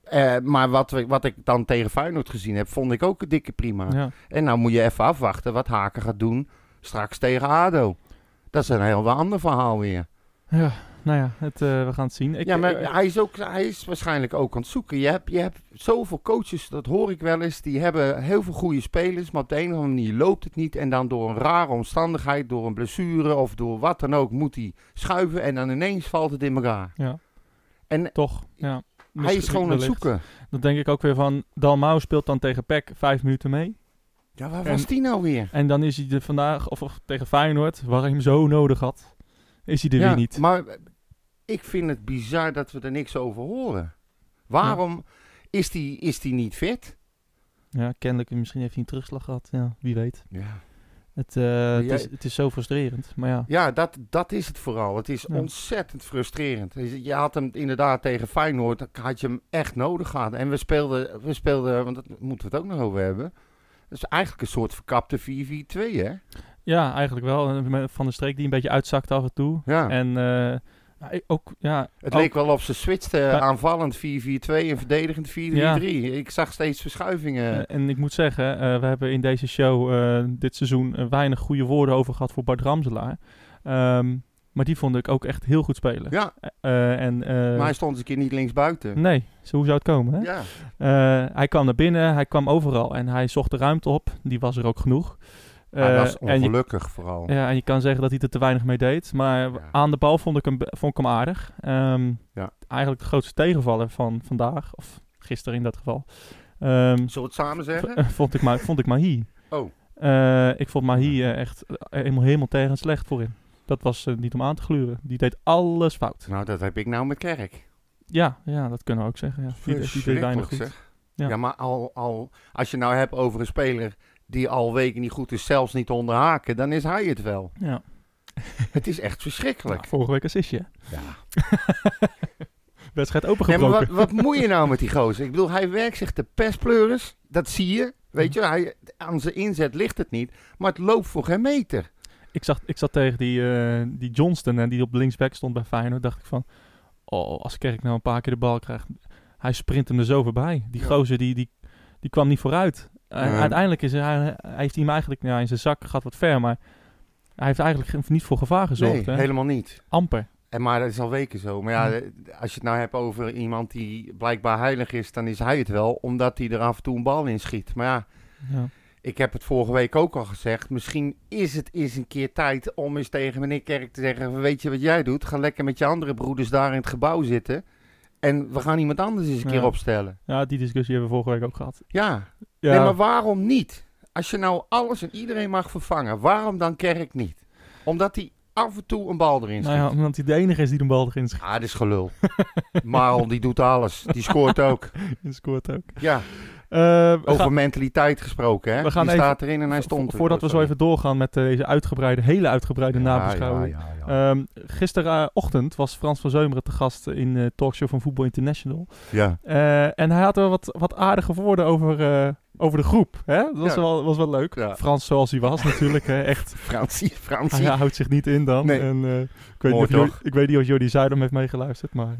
[SPEAKER 2] Eh, maar wat, we- wat ik dan tegen Feyenoord gezien heb, vond ik ook een dikke prima.
[SPEAKER 1] Ja.
[SPEAKER 2] En nou moet je even afwachten wat Haken gaat doen straks tegen ADO. Dat is een heel ander verhaal weer
[SPEAKER 1] ja, nou ja, het, eh, we gaan het zien. Ik,
[SPEAKER 2] ja, maar
[SPEAKER 1] ik-
[SPEAKER 2] hij, is ook, hij is waarschijnlijk ook aan het zoeken. Je hebt, je hebt zoveel coaches, dat hoor ik wel eens, die hebben heel veel goede spelers, maar op de een of andere manier loopt het niet. En dan door een rare omstandigheid, door een blessure of door wat dan ook, moet hij schuiven en dan ineens valt het in elkaar.
[SPEAKER 1] ja.
[SPEAKER 2] En
[SPEAKER 1] toch, ja.
[SPEAKER 2] hij is
[SPEAKER 1] Misschien
[SPEAKER 2] gewoon aan het
[SPEAKER 1] wellicht.
[SPEAKER 2] zoeken.
[SPEAKER 1] Dan denk ik ook weer van, Dalmau speelt dan tegen PEC vijf minuten mee.
[SPEAKER 2] Ja, waar
[SPEAKER 1] En-
[SPEAKER 2] was die nou weer?
[SPEAKER 1] En dan is hij er vandaag, of, of tegen Feyenoord, waar hij hem zo nodig had, is hij er
[SPEAKER 2] ja,
[SPEAKER 1] weer niet.
[SPEAKER 2] Maar eh, ik vind het bizar dat we er niks over horen. Waarom is, die, is die niet fit?
[SPEAKER 1] Ja, kennelijk, misschien heeft hij een terugslag gehad. Ja, wie weet.
[SPEAKER 2] Ja.
[SPEAKER 1] Het, eh, het,
[SPEAKER 2] jij-
[SPEAKER 1] is, het is zo frustrerend, maar ja.
[SPEAKER 2] Ja, dat, dat is het vooral. Het is
[SPEAKER 1] Ja.
[SPEAKER 2] ontzettend frustrerend. Dus Je had hem inderdaad tegen Feyenoord, had je hem echt nodig gehad. En we speelden, we speelden want daar moeten we het ook nog over hebben. Dat is eigenlijk een soort verkapte 4-4-2, hè?
[SPEAKER 1] Ja, eigenlijk wel. Eh, met Van de Streek die een beetje uitzakt af en toe.
[SPEAKER 2] Ja.
[SPEAKER 1] En eh, nou, ik- ook, ja,
[SPEAKER 2] het
[SPEAKER 1] ook-
[SPEAKER 2] leek wel of ze switchten
[SPEAKER 1] Ja.
[SPEAKER 2] aanvallend 4-4-2 en verdedigend 4-3-3. Ik zag steeds
[SPEAKER 1] eh,
[SPEAKER 2] verschuivingen.
[SPEAKER 1] en ik moet zeggen, eh, we hebben in deze show eh, dit seizoen eh, weinig goede woorden over gehad voor Bart Ramselaar. Ehm, maar die vond ik ook echt heel goed spelen.
[SPEAKER 2] Ja,
[SPEAKER 1] Eh, en, eh,
[SPEAKER 2] maar hij stond eens een keer niet linksbuiten.
[SPEAKER 1] Nee, zo, hoe zou het komen? Hè?
[SPEAKER 2] Ja.
[SPEAKER 1] Eh, hij kwam naar binnen, hij kwam overal en hij zocht de ruimte op. Die was er ook genoeg.
[SPEAKER 2] hij
[SPEAKER 1] Eh,
[SPEAKER 2] was
[SPEAKER 1] en je
[SPEAKER 2] ongelukkig vooral.
[SPEAKER 1] Ja, en je kan zeggen dat hij er te weinig mee deed. Maar
[SPEAKER 2] Ja.
[SPEAKER 1] aan de bal vond ik hem, vond ik hem aardig. Ehm,
[SPEAKER 2] Ja.
[SPEAKER 1] Eigenlijk de grootste tegenvaller van vandaag, of gisteren in dat geval. Ehm,
[SPEAKER 2] Zullen we het samen
[SPEAKER 1] v- (laughs)
[SPEAKER 2] zeggen?
[SPEAKER 1] eh, vond ik, Ma- vond ik Mahi.
[SPEAKER 2] Oh.
[SPEAKER 1] Eh, ik vond Mahi eh, echt eh, helemaal, helemaal tegen en slecht voorin. Dat was eh, niet om aan te gluren. Die deed alles fout.
[SPEAKER 2] Nou, dat heb ik nou met Kerk.
[SPEAKER 1] Ja, ja dat kunnen we ook zeggen. Ja. Die, die deed weinig
[SPEAKER 2] Verschrikkelijk,
[SPEAKER 1] goed.
[SPEAKER 2] zeg.
[SPEAKER 1] Ja.
[SPEAKER 2] Ja, maar al, al, als je nou hebt over een speler die al weken niet goed is, zelfs niet onder haken, dan is hij het (laughs) wel.
[SPEAKER 1] Ja.
[SPEAKER 2] Het is echt verschrikkelijk.
[SPEAKER 1] Nou, vorige week assistje.
[SPEAKER 2] Ja.
[SPEAKER 1] (laughs) Wedstrijd
[SPEAKER 2] Nee,
[SPEAKER 1] opengebroken.
[SPEAKER 2] maar wat, wat moet je nou met die gozer? Ik bedoel, hij werkt zich de pestpleuris, dat zie je. Weet je, hij, aan zijn inzet ligt het niet, maar het loopt voor geen meter.
[SPEAKER 1] Ik, zag, ik zat tegen die, eh, die Johnston en die op linksback stond bij Feyenoord. Dacht ik van, oh, als Kerk nou een paar keer de bal krijgt. Hij sprint hem er zo voorbij. Die
[SPEAKER 2] Ja.
[SPEAKER 1] gozer, die, die, die kwam niet vooruit. En
[SPEAKER 2] Nee.
[SPEAKER 1] Uiteindelijk is hij, hij heeft hij hem eigenlijk nou, in zijn zak gaat wat ver. Maar hij heeft eigenlijk geen- niet voor gevaar gezorgd.
[SPEAKER 2] nee,
[SPEAKER 1] hè?
[SPEAKER 2] helemaal niet.
[SPEAKER 1] Amper.
[SPEAKER 2] En maar dat is al weken zo. Maar ja, als je het nou hebt over iemand die blijkbaar heilig is, dan is hij het wel, omdat hij er af en toe een bal in schiet. Maar ja,
[SPEAKER 1] Ja.
[SPEAKER 2] Ik heb het vorige week ook al gezegd. Misschien is het eens een keer tijd om eens tegen meneer Kerk te zeggen: Weet je wat jij doet? Ga lekker met je andere broeders daar in het gebouw zitten. En we gaan iemand anders eens een
[SPEAKER 1] Ja.
[SPEAKER 2] keer opstellen.
[SPEAKER 1] ja, die discussie hebben we vorige week ook gehad.
[SPEAKER 2] Ja,
[SPEAKER 1] Ja,
[SPEAKER 2] Nee, maar waarom niet? Als je nou alles en iedereen mag vervangen, waarom dan Kerk niet? Omdat hij af en toe een bal erin schiet.
[SPEAKER 1] nou ja, omdat hij de enige is die de bal erin schiet-
[SPEAKER 2] Ah, dat is gelul. (laughs) Marel, die doet alles. Die scoort ook.
[SPEAKER 1] en scoort ook.
[SPEAKER 2] Ja,
[SPEAKER 1] Eh, we gaan-
[SPEAKER 2] over mentaliteit gesproken, hè?
[SPEAKER 1] We gaan
[SPEAKER 2] die
[SPEAKER 1] even-
[SPEAKER 2] staat erin en Oh, hij stond er. oh,
[SPEAKER 1] Voordat we zo even doorgaan met eh, deze uitgebreide, hele uitgebreide
[SPEAKER 2] Ja,
[SPEAKER 1] nabeschouwing.
[SPEAKER 2] ja, ja, ja.
[SPEAKER 1] Ehm gisterochtend was Frans van Zeumeren te gast in de talkshow van Voetbal International.
[SPEAKER 2] ja.
[SPEAKER 1] Eh, en hij had wel wat, wat aardige woorden over, eh, over de groep. Hè? Dat was,
[SPEAKER 2] Ja.
[SPEAKER 1] wel, was wel leuk.
[SPEAKER 2] Ja.
[SPEAKER 1] Frans zoals hij was natuurlijk. hè,
[SPEAKER 2] (laughs)
[SPEAKER 1] echt,
[SPEAKER 2] Fransie, Fransie.
[SPEAKER 1] hij houdt zich niet in dan.
[SPEAKER 2] Nee.
[SPEAKER 1] En, eh, ik, weet niet
[SPEAKER 2] Mooi
[SPEAKER 1] of Jordi,
[SPEAKER 2] toch?
[SPEAKER 1] ik weet niet of Jordi Zuidam heeft meegeluisterd. Maar,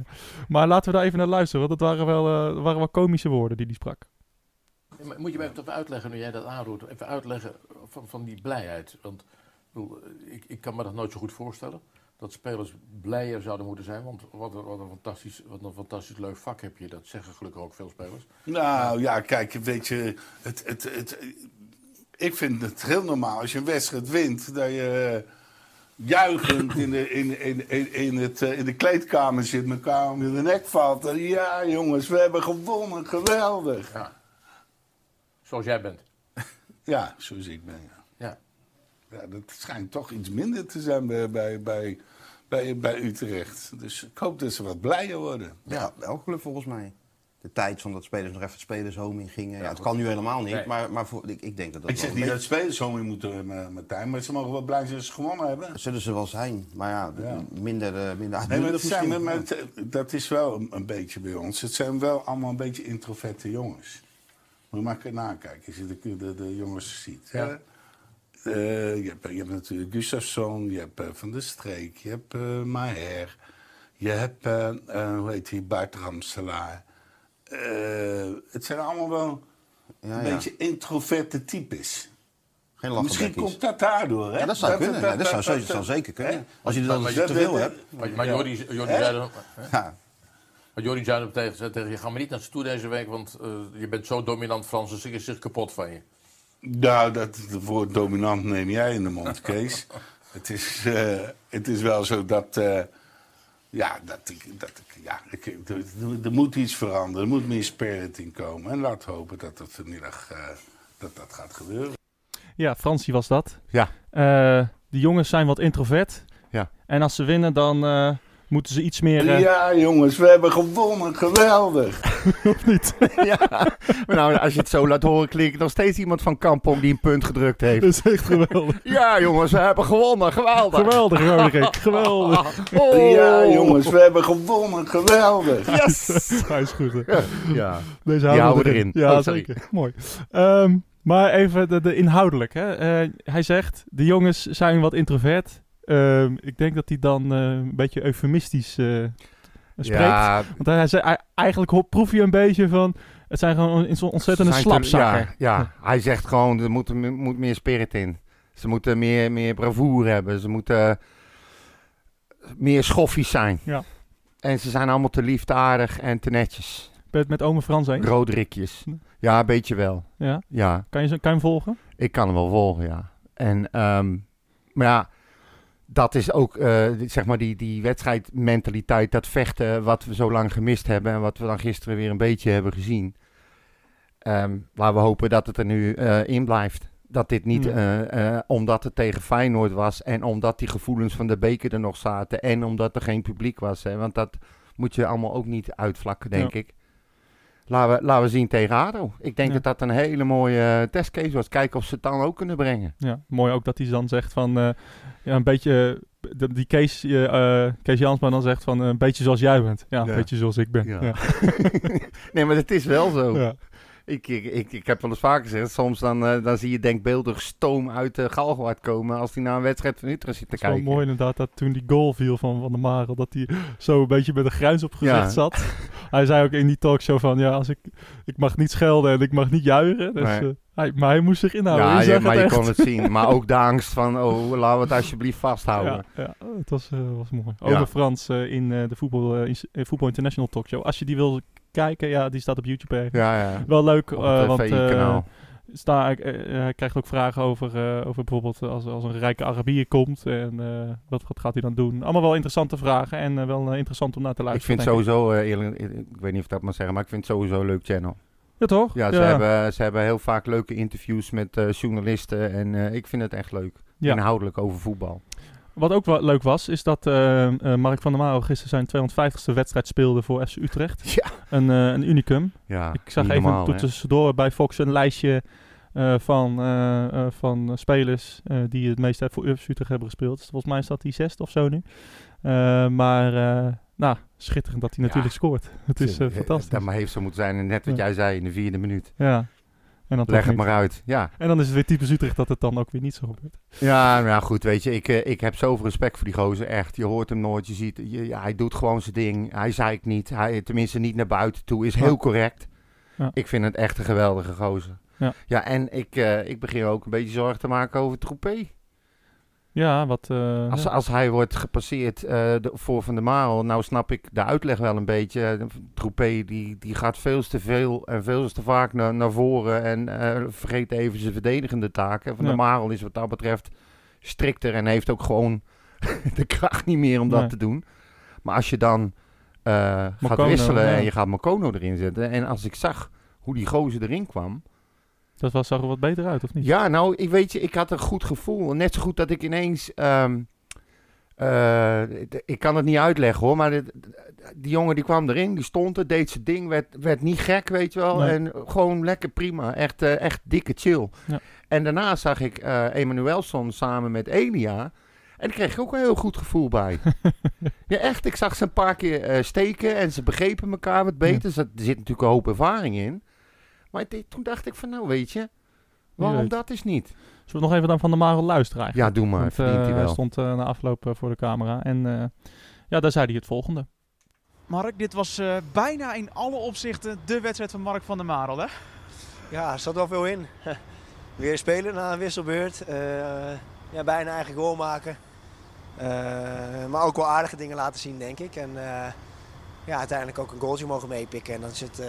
[SPEAKER 1] maar laten we daar even naar luisteren. Want dat waren wel, eh, waren wel komische woorden die hij sprak.
[SPEAKER 5] Ja, maar Moet je mij even uitleggen, nu jij dat aanroept, even uitleggen van, van die blijheid. Want ik bedoel, ik, ik kan me dat nooit zo goed voorstellen. Dat spelers blijer zouden moeten zijn. Want wat een, wat een, fantastisch, wat een fantastisch leuk vak heb je. Dat zeggen gelukkig ook veel spelers.
[SPEAKER 6] Nou ja, kijk, weet je, het, het, het, ik vind het heel normaal als je een wedstrijd wint, dat je eh, juichend in de, in, in, in, in, het, eh, in de kleedkamer zit, elkaar om de nek valt. En ja, jongens, we hebben gewonnen, geweldig.
[SPEAKER 5] Zoals jij bent.
[SPEAKER 6] Ja, zo zie ik ben. Ja.
[SPEAKER 5] Ja.
[SPEAKER 6] Ja, dat schijnt toch iets minder te zijn bij, bij, bij, bij, bij Utrecht. Dus ik hoop dat ze wat blijer worden.
[SPEAKER 7] Ja, elke club volgens mij. De tijd van dat spelers nog even het spelers home in gingen. Ja, het kan nu helemaal niet,
[SPEAKER 5] Nee.
[SPEAKER 7] maar, maar voor, ik, ik denk dat dat
[SPEAKER 6] Ik
[SPEAKER 7] wel
[SPEAKER 6] zeg
[SPEAKER 7] een
[SPEAKER 6] niet
[SPEAKER 7] beetje-
[SPEAKER 6] dat spelers honger moeten, eh, Martijn, maar ze mogen wel blij zijn dat ze gewonnen hebben.
[SPEAKER 7] Zullen ze wel zijn, maar ja, d-
[SPEAKER 6] Ja.
[SPEAKER 7] minder, eh minder
[SPEAKER 6] Nee, maar dat,
[SPEAKER 7] uitbundig
[SPEAKER 6] zijn,
[SPEAKER 7] misschien.
[SPEAKER 6] maar
[SPEAKER 7] Ja.
[SPEAKER 6] het, eh, dat is wel een, een beetje bij ons. Het zijn wel allemaal een beetje introverte jongens. Moet je maar kunnen nakijken als je de, de, de jongens ziet. hè.
[SPEAKER 5] Ja.
[SPEAKER 6] Eh, je, hebt, je hebt natuurlijk Gustafsson, je hebt eh, Van der Streek, je hebt eh Maher. Je hebt, eh, eh, hoe heet die, Bart Ramselaar. Eh, het zijn allemaal wel
[SPEAKER 7] Ja,
[SPEAKER 6] een
[SPEAKER 7] ja.
[SPEAKER 6] beetje introverte types.
[SPEAKER 7] Geen lachen
[SPEAKER 6] Misschien
[SPEAKER 7] bekkies.
[SPEAKER 6] komt dat daardoor, hè?
[SPEAKER 7] Ja, dat zou kunnen. Ja, dat zou,
[SPEAKER 6] dat-
[SPEAKER 7] dat zou
[SPEAKER 6] dat-
[SPEAKER 7] zeker
[SPEAKER 6] hè?
[SPEAKER 7] kunnen. Als je er dan
[SPEAKER 6] Maar-
[SPEAKER 7] te veel
[SPEAKER 6] dat-
[SPEAKER 7] hebt.
[SPEAKER 5] Maar, maar Jordi, Jordi
[SPEAKER 6] Hè?
[SPEAKER 5] zei dan,
[SPEAKER 7] Ja.
[SPEAKER 5] maar Jordi zei dan tegen, zei tegen je, ga maar niet naar ze toe deze week, want eh, je bent zo dominant Frans, dus ik is zich kapot van je.
[SPEAKER 6] Nou, dat woord dominant neem jij in de mond, Kees. het, is, eh, het is wel zo dat. eh, ja, dat ik, dat ik, ja ik, er, er- er moet iets veranderen. Er moet meer spirit in komen. En laat hopen dat dat vanmiddag eh, dat, dat gaat gebeuren.
[SPEAKER 1] Ja, Fransie was dat.
[SPEAKER 2] Ja.
[SPEAKER 1] Eh, de jongens zijn wat introvert.
[SPEAKER 2] Ja.
[SPEAKER 1] En als ze winnen, dan eh, moeten ze iets meer... (laughs) eh,
[SPEAKER 6] Ja, jongens, we hebben gewonnen. Geweldig.
[SPEAKER 2] (laughs) ja. Maar nou, als je het zo laat horen, klinkt nog steeds iemand van Kampong die een punt gedrukt heeft.
[SPEAKER 1] (laughs) Dat is echt geweldig.
[SPEAKER 2] Ja, jongens, we hebben gewonnen. Geweldig.
[SPEAKER 1] Geweldig, Roderick. Geweldig.
[SPEAKER 2] Oh.
[SPEAKER 6] Ja, jongens, we hebben gewonnen. Geweldig.
[SPEAKER 2] Yes.
[SPEAKER 1] (laughs) Hij is goed, hè?
[SPEAKER 2] Ja.
[SPEAKER 1] Deze
[SPEAKER 2] Die
[SPEAKER 1] houden
[SPEAKER 2] houden
[SPEAKER 1] we erin.
[SPEAKER 2] erin.
[SPEAKER 1] Ja,
[SPEAKER 2] Oh, sorry.
[SPEAKER 1] zeker. Mooi. Ehm, maar even de, de inhoudelijk. Hè. Eh, hij zegt, de jongens zijn wat introvert. Ehm, ik denk dat hij dan eh, een beetje eufemistisch eh, spreekt.
[SPEAKER 2] Ja,
[SPEAKER 1] Want hij, hij, zei- hij- eigenlijk ho- proef je een beetje van... Het zijn gewoon een- zo'n ontzettende
[SPEAKER 2] zijn te-
[SPEAKER 1] slapzakken.
[SPEAKER 2] Ja, ja, hij zegt gewoon, er moet, er moet meer spirit in. Ze moeten meer, meer bravoure hebben. Ze moeten meer schoffies zijn.
[SPEAKER 1] Ja.
[SPEAKER 2] En ze zijn allemaal te liefdadig en te netjes.
[SPEAKER 1] Ben je het met ome Frans eens?
[SPEAKER 2] Roderikjes. Ja, een beetje wel.
[SPEAKER 1] Ja.
[SPEAKER 2] Ja.
[SPEAKER 1] Kan je, zo- kan je hem volgen?
[SPEAKER 2] Ik kan hem wel volgen, ja. En, ehm, maar ja, dat is ook, eh, die- zeg maar, die, die wedstrijdmentaliteit, dat vechten wat we zo lang gemist hebben en wat we dan gisteren weer een beetje hebben gezien. Ehm, waar we hopen dat het er nu eh, in blijft. Dat dit niet,
[SPEAKER 1] Ja.
[SPEAKER 2] eh, eh, omdat het tegen Feyenoord was en omdat die gevoelens van de beker er nog zaten en omdat er geen publiek was. Hè, want dat moet je allemaal ook niet uitvlakken, denk ik. Laten we, laten we zien tegen ADO. Ik denk
[SPEAKER 1] Ja.
[SPEAKER 2] dat dat een hele mooie eh, testcase was. Kijken of ze het dan ook kunnen brengen.
[SPEAKER 1] Ja, mooi ook dat hij dan zegt van... eh, ja, een beetje... eh, dat die Kees, eh, eh, Kees Jansma dan zegt van... eh, een beetje zoals jij bent. Ja, een
[SPEAKER 2] Ja.
[SPEAKER 1] beetje zoals ik ben.
[SPEAKER 2] Ja. Oh,
[SPEAKER 1] Ja.
[SPEAKER 2] (laughs) Nee, maar het is wel zo.
[SPEAKER 1] Ja.
[SPEAKER 2] Ik, ik, ik, ik heb wel eens vaker gezegd, soms dan, eh, dan zie je denkbeeldig stoom uit de Galgenwaard komen als die naar een wedstrijd van Utrecht zit te
[SPEAKER 1] Het is
[SPEAKER 2] kijken.
[SPEAKER 1] wel mooi inderdaad dat toen die goal viel van Van der Marel, dat hij zo een beetje met een grijns op gezicht
[SPEAKER 2] Ja.
[SPEAKER 1] zat.
[SPEAKER 2] (laughs)
[SPEAKER 1] Hij zei ook in die talkshow van, ja, als ik, ik mag niet schelden en ik mag niet juichen. Dus,
[SPEAKER 2] Nee.
[SPEAKER 1] eh, hij, maar hij moest zich inhouden.
[SPEAKER 2] ja,
[SPEAKER 1] Hij
[SPEAKER 2] je-
[SPEAKER 1] zag
[SPEAKER 2] maar
[SPEAKER 1] Nou, het
[SPEAKER 2] je
[SPEAKER 1] echt.
[SPEAKER 2] kon het zien. Maar ook de angst van, oh, laten we het alsjeblieft vasthouden.
[SPEAKER 1] Ja, ja, het was, eh, was mooi. Over
[SPEAKER 2] Ja.
[SPEAKER 1] Frans eh, in eh, de voetbal, eh, in- eh, voetbal International talkshow. Als je die wil kijken, ja, die staat op YouTube. eh.
[SPEAKER 2] Ja, ja.
[SPEAKER 1] Wel leuk,
[SPEAKER 2] Op
[SPEAKER 1] eh,
[SPEAKER 2] het
[SPEAKER 1] want eh,
[SPEAKER 2] VI-kanaal.
[SPEAKER 1] sta, ik, eh, eh, hij krijgt ook vragen over, eh, over bijvoorbeeld eh, als, als een rijke Arabier komt. En eh, wat, wat gaat hij dan doen? Allemaal wel interessante vragen en eh, wel eh, interessant om naar te
[SPEAKER 2] ik
[SPEAKER 1] luisteren.
[SPEAKER 2] vind
[SPEAKER 1] denk
[SPEAKER 2] sowieso, eh, eerlijk, ik weet niet of ik dat mag zeggen, maar ik vind het sowieso een leuk channel.
[SPEAKER 1] Ja, toch?
[SPEAKER 2] Ja, ze, Hebben, ze hebben heel vaak leuke interviews met eh, journalisten. En eh, ik vind het echt leuk.
[SPEAKER 1] Ja.
[SPEAKER 2] Inhoudelijk over voetbal.
[SPEAKER 1] Wat ook wel leuk was, is dat eh, eh, Mark van der Maro gisteren zijn 250ste wedstrijd speelde voor FC Utrecht.
[SPEAKER 2] Ja.
[SPEAKER 1] Een, eh, een unicum.
[SPEAKER 2] Ja,
[SPEAKER 1] Ik zag
[SPEAKER 2] niet
[SPEAKER 1] even
[SPEAKER 2] normaal,
[SPEAKER 1] toen
[SPEAKER 2] hè?
[SPEAKER 1] tussendoor bij Fox een lijstje eh, van, eh, eh, van spelers eh, die het meest voor Urps Utrecht hebben gespeeld. Dus volgens mij is dat die zesde of zo nu. Eh, maar eh, nou, schitterend dat hij natuurlijk scoort. (laughs) Het is eh,
[SPEAKER 2] Eh,
[SPEAKER 1] fantastisch.
[SPEAKER 2] Dat maar heeft zo moeten zijn. En net wat
[SPEAKER 1] Ja.
[SPEAKER 2] jij zei in de vierde minuut.
[SPEAKER 1] ja. en, dan toch
[SPEAKER 2] Leg het
[SPEAKER 1] niet.
[SPEAKER 2] maar uit. Ja,
[SPEAKER 1] en dan is het weer typisch Utrecht dat het dan ook weer niet zo gebeurt.
[SPEAKER 2] ja nou ja, goed. Weet je, ik, eh, ik heb zoveel respect voor die gozer. Echt. Je hoort hem nooit. Je ziet, je- ja, hij doet gewoon zijn ding. Hij zeikt niet. Hij, tenminste, niet naar buiten toe. Is heel
[SPEAKER 1] Ja.
[SPEAKER 2] correct.
[SPEAKER 1] Ja.
[SPEAKER 2] Ik vind het echt een geweldige gozer.
[SPEAKER 1] Ja.
[SPEAKER 2] en ik, eh, ik begin ook een beetje zorgen te maken over Troepé.
[SPEAKER 1] Ja, wat... eh,
[SPEAKER 2] Als,
[SPEAKER 1] ja.
[SPEAKER 2] als hij wordt gepasseerd eh, de- voor Van der Marel, nou snap ik de uitleg wel een beetje. Eh, Troepé die, die gaat veel te veel en veel te vaak naar, naar voren en eh, vergeet even zijn verdedigende taken. Van
[SPEAKER 1] Ja.
[SPEAKER 2] der Marel is wat dat betreft strikter en heeft ook gewoon (laughs) de kracht niet meer om dat
[SPEAKER 1] Nee.
[SPEAKER 2] te doen. Maar als je dan eh, gaat
[SPEAKER 1] Marcano,
[SPEAKER 2] wisselen
[SPEAKER 1] ja.
[SPEAKER 2] en je gaat Marcono erin zetten. En als ik zag hoe die gozer erin kwam,
[SPEAKER 1] Dat was, zag er wat beter uit, of niet?
[SPEAKER 2] Ja, nou, ik weet je, ik had een goed gevoel. Net zo goed dat ik ineens. ehm, eh, d- ik kan het niet uitleggen hoor, maar dit- die jongen die kwam erin, die stond er, deed zijn ding, werd, werd niet gek, weet je wel.
[SPEAKER 1] Nee.
[SPEAKER 2] En gewoon lekker prima. Echt, eh, echt dikke chill.
[SPEAKER 1] Ja.
[SPEAKER 2] En daarna zag ik eh Emanuelson samen met Elia. En daar kreeg ik ook een heel goed gevoel
[SPEAKER 1] (laughs)
[SPEAKER 2] bij. ja, echt. Ik zag ze een paar keer eh, steken en ze begrepen elkaar wat beter. Dus dat- er zit natuurlijk een hoop ervaring in. Maar dit- toen dacht ik van, nou weet je, waarom
[SPEAKER 1] weet.
[SPEAKER 2] dat is niet?
[SPEAKER 1] Zullen we nog even dan van de Marel luisteren eigenlijk?
[SPEAKER 2] Ja, doe maar.
[SPEAKER 1] Want,
[SPEAKER 2] verdient
[SPEAKER 1] eh,
[SPEAKER 2] hij
[SPEAKER 1] hij
[SPEAKER 2] wel.
[SPEAKER 1] stond eh, na afloop eh, voor de camera. En eh, ja, daar zei hij het volgende.
[SPEAKER 8] Mark, dit was eh, bijna in alle opzichten de wedstrijd van Mark van der Marel. Hè?
[SPEAKER 9] Ja, er zat wel veel in. (laughs) Weer spelen na een wisselbeurt. Eh, ja, bijna eigen goal maken. Eh, maar ook wel aardige dingen laten zien, denk ik. En eh, ja, uiteindelijk ook een goaltje mogen meepikken. En dan is het eh,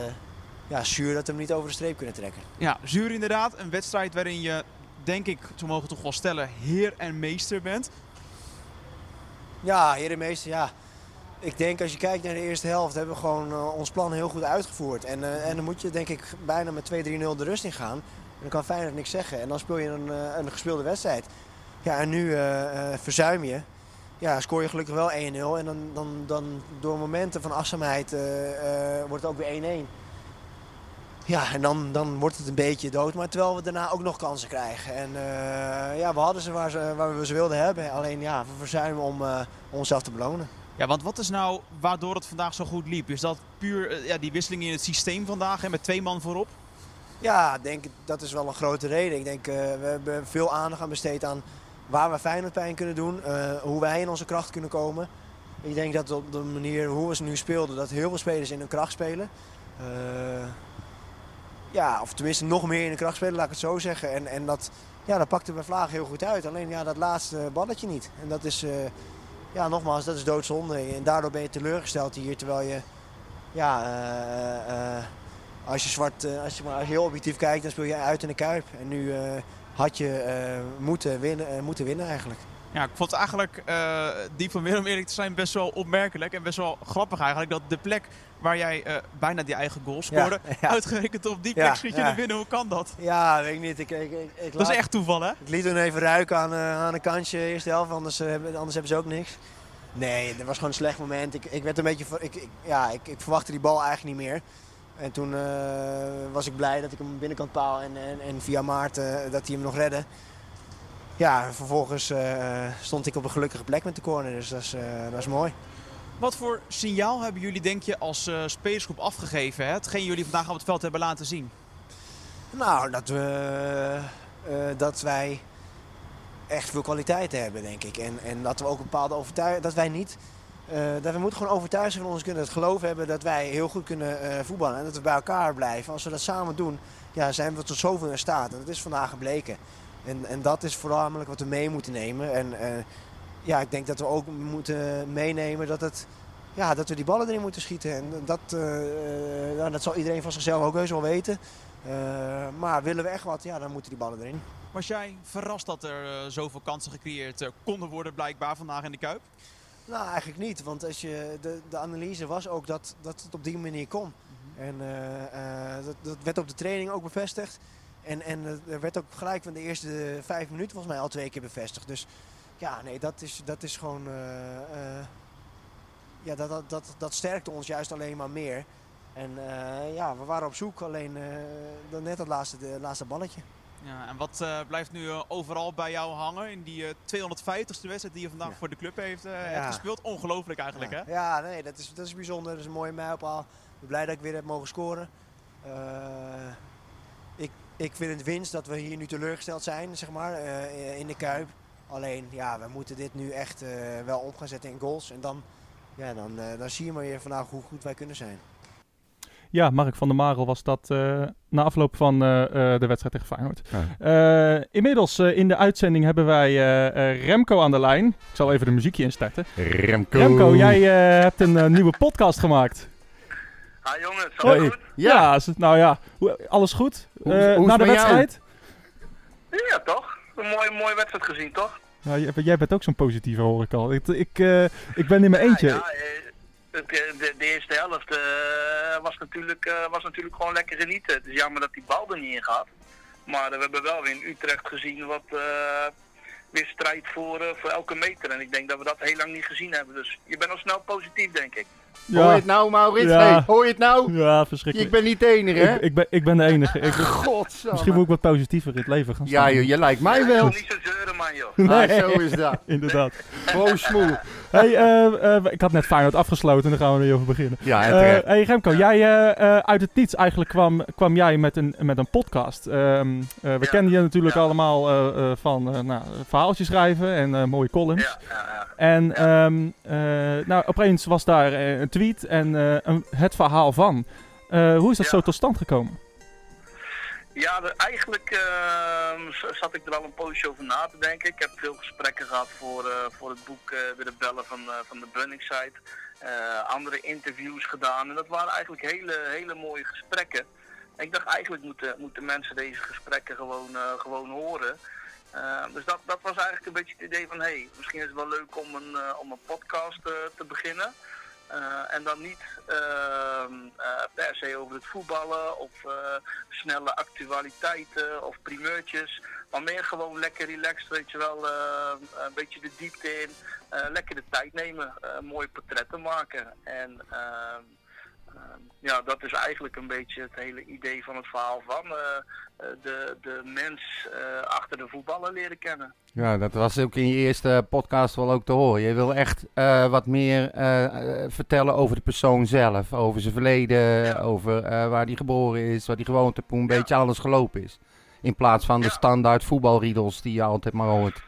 [SPEAKER 9] ja, zuur dat we hem niet over de streep kunnen trekken.
[SPEAKER 8] Ja, zuur inderdaad. Een wedstrijd waarin je, denk ik, te mogen toch wel stellen, heer en meester bent.
[SPEAKER 9] Ja, herenmeester, ja. Ik denk als je kijkt naar de eerste helft hebben we gewoon eh, ons plan heel goed uitgevoerd. En, eh, en dan moet je denk ik bijna met 2-3-0 de rust in gaan. En dan kan Feyenoord niks zeggen. En dan speel je een, eh, een gespeelde wedstrijd. Ja, en nu eh, eh, verzuim je. Ja, scoor je gelukkig wel 1-0. En dan, dan, dan door momenten van afzaamheid eh, eh, wordt het ook weer 1-1. Ja, en dan, dan wordt het een beetje dood. Maar terwijl we daarna ook nog kansen krijgen. En eh, ja, we hadden ze waar, ze waar we ze wilden hebben. Alleen ja, we verzuimen om... eh, om onszelf te belonen.
[SPEAKER 8] Ja, want wat is nou waardoor het vandaag zo goed liep? Is dat puur eh, ja, die wisseling in het systeem vandaag en met twee man voorop?
[SPEAKER 9] Ja, ik denk, dat is wel een grote reden. Ik denk, eh, we hebben veel aandacht aan besteed aan waar we Feyenoord pijn kunnen doen. eh, hoe wij in onze kracht kunnen komen. Ik denk dat op de manier hoe we ze nu speelden, dat heel veel spelers in hun kracht spelen. Eh, ja, of tenminste nog meer in hun kracht spelen, laat ik het zo zeggen. En, en dat, ja, dat pakte bij Vlaag heel goed uit. Alleen ja, dat laatste balletje niet. En dat is, eh, ja, nogmaals, dat is doodzonde. En daardoor ben je teleurgesteld hier, terwijl je, ja... eh, eh, als je, zwart, eh, als, je, maar als je heel objectief kijkt, dan speel je uit in de Kuip. En nu eh, had je eh, moeten, winnen, eh, moeten winnen eigenlijk.
[SPEAKER 8] Ja, ik vond eigenlijk eh, die van Willem, om eerlijk te zijn, best wel opmerkelijk en best wel grappig eigenlijk. Dat de plek waar jij eh, bijna die eigen goal scoorde,
[SPEAKER 9] Ja, ja.
[SPEAKER 8] uitgerekend op die plek
[SPEAKER 9] Ja,
[SPEAKER 8] schiet je
[SPEAKER 9] ja.
[SPEAKER 8] er binnen. Hoe kan dat?
[SPEAKER 9] Ja, weet ik niet. Ik, ik, ik, ik,
[SPEAKER 8] Dat
[SPEAKER 9] laat-
[SPEAKER 8] is echt toeval, hè?
[SPEAKER 9] ik liet hun even ruiken aan, eh, aan een kantje, eerste helft, anders, eh, hebben- anders hebben ze ook niks. Nee, dat was gewoon een slecht moment. Ik, ik werd een beetje... ver- Ik, ik- ja, ik, ik verwachtte die bal eigenlijk niet meer. En toen eh, was ik blij dat ik hem binnenkant paal en, en, en via Maarten eh, dat hij hem nog redde. Ja, en vervolgens eh, stond ik op een gelukkige plek met de corner, dus dat is, eh, dat is mooi.
[SPEAKER 8] Wat voor signaal hebben jullie, denk je, als eh, spelersgroep afgegeven? Hè? Hetgeen jullie vandaag op het veld hebben laten zien.
[SPEAKER 9] Nou, dat, we, eh, dat wij echt veel kwaliteiten hebben, denk ik. En, en dat we ook een bepaalde overtuiging... Dat wij niet... eh, dat we moeten gewoon overtuigd zijn van ons kunnen. Het geloof hebben dat wij heel goed kunnen eh, voetballen. En dat we bij elkaar blijven. Als we dat samen doen, ja, zijn we tot zoveel in staat. En dat is vandaag gebleken. En, en dat is voornamelijk wat we mee moeten nemen. En eh, ja, ik denk dat we ook moeten meenemen dat het... Ja, dat we die ballen erin moeten schieten. En dat, eh, eh, nou, dat zal iedereen van zichzelf ook heus wel weten. Eh, maar willen we echt wat, ja, dan moeten die ballen erin.
[SPEAKER 8] Was jij verrast dat er eh, zoveel kansen gecreëerd eh, konden worden blijkbaar vandaag in de Kuip?
[SPEAKER 9] Nou, eigenlijk niet. Want als je, de, de analyse was ook dat, dat het op die manier kon. En eh, eh, dat, dat werd op de training ook bevestigd. En, en eh, er werd ook gelijk van de eerste vijf minuten volgens mij al twee keer bevestigd. Dus ja, nee, dat is, dat is gewoon... eh, eh, ja, dat, dat, dat, dat sterkte ons juist alleen maar meer. En eh, ja, we waren op zoek, alleen eh, dan net dat laatste, de, laatste balletje.
[SPEAKER 8] Ja, en wat eh, blijft nu eh, overal bij jou hangen in die eh, 250ste wedstrijd die je vandaag
[SPEAKER 9] Ja.
[SPEAKER 8] voor de club heeft, eh,
[SPEAKER 9] Ja.
[SPEAKER 8] hebt gespeeld? Ongelooflijk eigenlijk,
[SPEAKER 9] ja.
[SPEAKER 8] hè?
[SPEAKER 9] Ja, nee, dat is, dat is bijzonder. Dat is een mooie mijlpaal. Ik ben blij dat ik weer heb mogen scoren. Eh, ik, ik vind het winst dat we hier nu teleurgesteld zijn, zeg maar, eh, in de Kuip. Alleen, ja, we moeten dit nu echt eh, wel op gaan zetten in goals. En dan, ja, dan, eh, dan zie je maar weer vandaag hoe goed wij kunnen zijn.
[SPEAKER 1] Ja, Mark van der Marel was dat eh, na afloop van eh, eh, de wedstrijd tegen Feyenoord. Eh, inmiddels eh, in de uitzending hebben wij eh, eh, Remco aan de lijn. Ik zal even de muziekje instarten.
[SPEAKER 2] Remco.
[SPEAKER 1] Remco, jij eh, hebt een eh, nieuwe podcast gemaakt.
[SPEAKER 7] Ah jongens,
[SPEAKER 1] Hoi.
[SPEAKER 7] alles goed?
[SPEAKER 1] Ja, is het- nou ja, hoe- alles goed?
[SPEAKER 2] Hoe-
[SPEAKER 1] Eh,
[SPEAKER 2] hoe is het
[SPEAKER 1] na de
[SPEAKER 2] met jou?
[SPEAKER 1] wedstrijd?
[SPEAKER 7] Ja toch? Een mooie, mooie wedstrijd gezien toch?
[SPEAKER 1] Nou, jij- jij bent ook zo'n positieve, hoor ik al. Ik, ik, eh, ik ben in mijn eentje.
[SPEAKER 7] Ja, eh, het, eh, de, de eerste helft eh, was, natuurlijk, eh, was natuurlijk gewoon lekker genieten. Het is jammer dat die bal er niet in gaat.
[SPEAKER 8] Maar eh, we hebben wel weer in Utrecht gezien wat eh, weer strijd voor, eh, voor elke meter. En ik denk dat we dat heel lang niet gezien hebben. Dus je bent al snel positief, denk ik.
[SPEAKER 2] Hoor je het nou, Maurits? Hey, hoor je het nou?
[SPEAKER 1] Ja, verschrikkelijk.
[SPEAKER 2] Ik ben niet de enige, hè?
[SPEAKER 1] Ik, ik, ben, ik ben de enige. Ik,
[SPEAKER 2] Godsamme.
[SPEAKER 1] Misschien moet ik wat positiever in het leven gaan
[SPEAKER 2] Ja,
[SPEAKER 1] staan.
[SPEAKER 2] joh, je lijkt
[SPEAKER 1] (laughs)
[SPEAKER 2] mij wel.
[SPEAKER 1] Goed. (laughs)
[SPEAKER 2] Ah, zo is dat.
[SPEAKER 1] Inderdaad.
[SPEAKER 2] Gewoon smoel.
[SPEAKER 1] Hey, eh, eh, ik had net Feyenoord afgesloten, dan gaan we er even beginnen.
[SPEAKER 2] Ja, en
[SPEAKER 1] Eh,
[SPEAKER 2] terecht.
[SPEAKER 1] hey Remco, jij eh, eh, uit het niets eigenlijk kwam, kwam jij met een, met een podcast. Ehm, eh, we kennen je natuurlijk allemaal eh, eh, van eh, nou, verhaaltjes schrijven en eh, mooie columns. En ehm, eh, nou, opeens was daar eh, een tweet en eh, een- het verhaal van. Eh, hoe is dat zo tot stand gekomen?
[SPEAKER 8] Ja, er- eigenlijk ehm, z- zat ik er al een poosje over na te denken. Ik heb veel gesprekken gehad voor, eh, voor het boek eh, De Rebellen van, eh, van de Bunningside. Eh andere interviews gedaan. En dat waren eigenlijk hele, hele mooie gesprekken. En ik dacht, eigenlijk moeten, moeten mensen deze gesprekken gewoon, eh, gewoon horen. Eh, dus dat, dat was eigenlijk een beetje het idee van... hé, hey, misschien is het wel leuk om een, eh, om een podcast eh, te beginnen... Eh, en dan niet ehm, eh, per se over het voetballen of eh, snelle actualiteiten of primeurtjes. Maar meer gewoon lekker relaxed, weet je wel. eh, een beetje de diepte in. eh, lekker de tijd nemen. eh, mooie portretten maken. En ehm, ehm, ja, dat is eigenlijk een beetje het hele idee van het verhaal van eh, eh, de, de mens eh, achter de voetballer leren kennen.
[SPEAKER 2] Ja, dat was ook in je eerste podcast wel ook te horen. Je wil echt eh, wat meer eh, eh, vertellen over de persoon zelf. Over zijn verleden, over eh, waar hij geboren is, waar die gewoond heeft, hoe een beetje alles gelopen is. In plaats van de standaard voetbalriedels die je altijd maar hoort.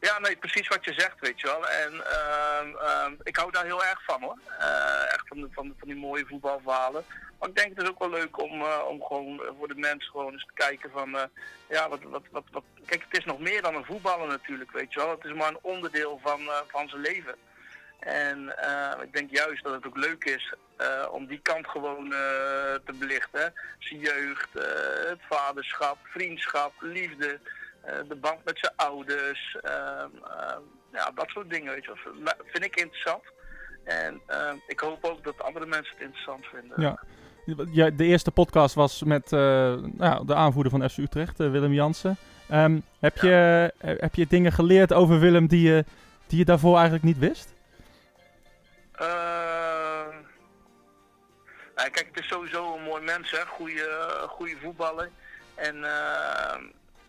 [SPEAKER 8] Ja, nee, precies wat je zegt, weet je wel. En ehm, ehm, ik hou daar heel erg van, hoor. Eh, echt van, de, van, de- van die mooie voetbalverhalen. Maar ik denk het is ook wel leuk om, eh, om gewoon eh, voor de mensen gewoon eens te kijken van... eh, ja, wat, wat, wat, wat... Kijk, het is nog meer dan een voetballer natuurlijk, weet je wel. Het is maar een onderdeel van, eh, van zijn leven. En eh, ik denk juist dat het ook leuk is eh, om die kant gewoon eh, te belichten. hè. Zijn jeugd, eh, het vaderschap, vriendschap, liefde, eh, de band met zijn ouders. ehm, ehm, ja, dat soort dingen, weet je wel. Maar nou, Vind ik interessant. En ehm, ik hoop ook dat andere mensen het interessant vinden.
[SPEAKER 1] Ja. Ja, de eerste podcast was met eh, nou, de aanvoerder van FC Utrecht, eh, Willem Jansen. Ehm, heb, je, eh, heb je dingen geleerd over Willem die je, die je daarvoor eigenlijk niet wist?
[SPEAKER 8] Ehm, nou, kijk, het is sowieso een mooi mens, hè. Goede, goede voetballer. En ehm,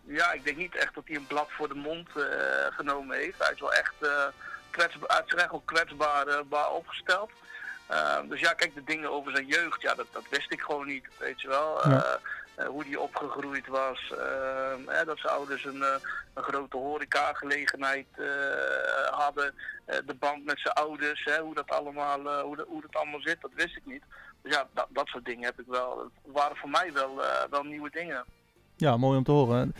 [SPEAKER 8] ja, ik denk niet echt dat hij een blad voor de mond eh, genomen heeft. Hij is wel echt eh kwetsbaar, hij is echt wel kwetsbaar eh, baar opgesteld. Ehm, dus ja, kijk, de dingen over zijn jeugd, ja, dat, dat wist ik gewoon niet, weet je wel.
[SPEAKER 1] Ja.
[SPEAKER 8] Eh, eh, hoe die opgegroeid was, ehm, hè, dat zijn ouders een, eh, een grote horecagelegenheid eh hadden, Eh, de band met zijn ouders, hè, hoe, dat allemaal, eh, hoe, dat, hoe dat allemaal zit, dat wist ik niet. Dus ja, dat, dat soort dingen heb ik wel, het waren voor mij wel, eh, wel nieuwe dingen.
[SPEAKER 1] Ja, mooi om te horen.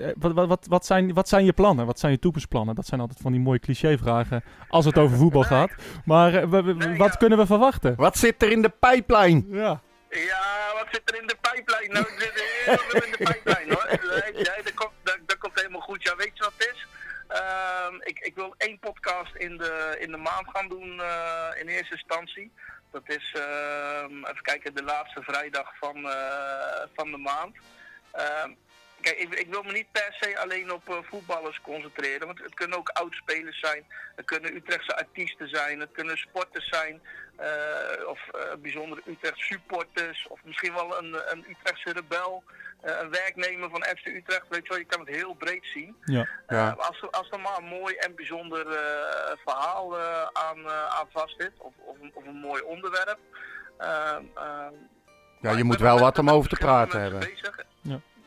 [SPEAKER 1] Eh, Wat, wat, wat, wat, zijn, wat zijn je plannen? Wat zijn je toekomstplannen? Dat zijn altijd van die mooie clichévragen als het over (laughs) voetbal gaat. Maar eh, wa- wa- wat kunnen we verwachten?
[SPEAKER 2] Wat zit er in de pijplijn?
[SPEAKER 1] Ja.
[SPEAKER 8] Ja, wat zit er in de pijplijn? Nou, er zit heel veel in de pijplijn hoor. Nee, nee, dat, komt, dat, dat komt helemaal goed. Ja, weet je wat het is? Ehm, ik, ik wil één podcast in de, in de maand gaan doen eh, in eerste instantie. Dat is, ehm, even kijken, de laatste vrijdag van, eh, van de maand. Ehm, kijk, ik, ik wil me niet per se alleen op eh, voetballers concentreren. Want het kunnen ook oudspelers zijn. Het kunnen Utrechtse artiesten zijn. Het kunnen sporters zijn. eh, of eh, bijzondere Utrecht supporters. Of misschien wel een, een Utrechtse rebel. eh, een werknemer van FC Utrecht. Weet je wel, je kan het heel breed zien.
[SPEAKER 1] Ja.
[SPEAKER 8] Eh, als, er, als er maar een mooi en bijzonder eh, verhaal eh, aan, eh, aan vast zit, of, of, een- of een mooi onderwerp, ehm, ehm,
[SPEAKER 2] Ja, je moet wel wat om over te praten hebben.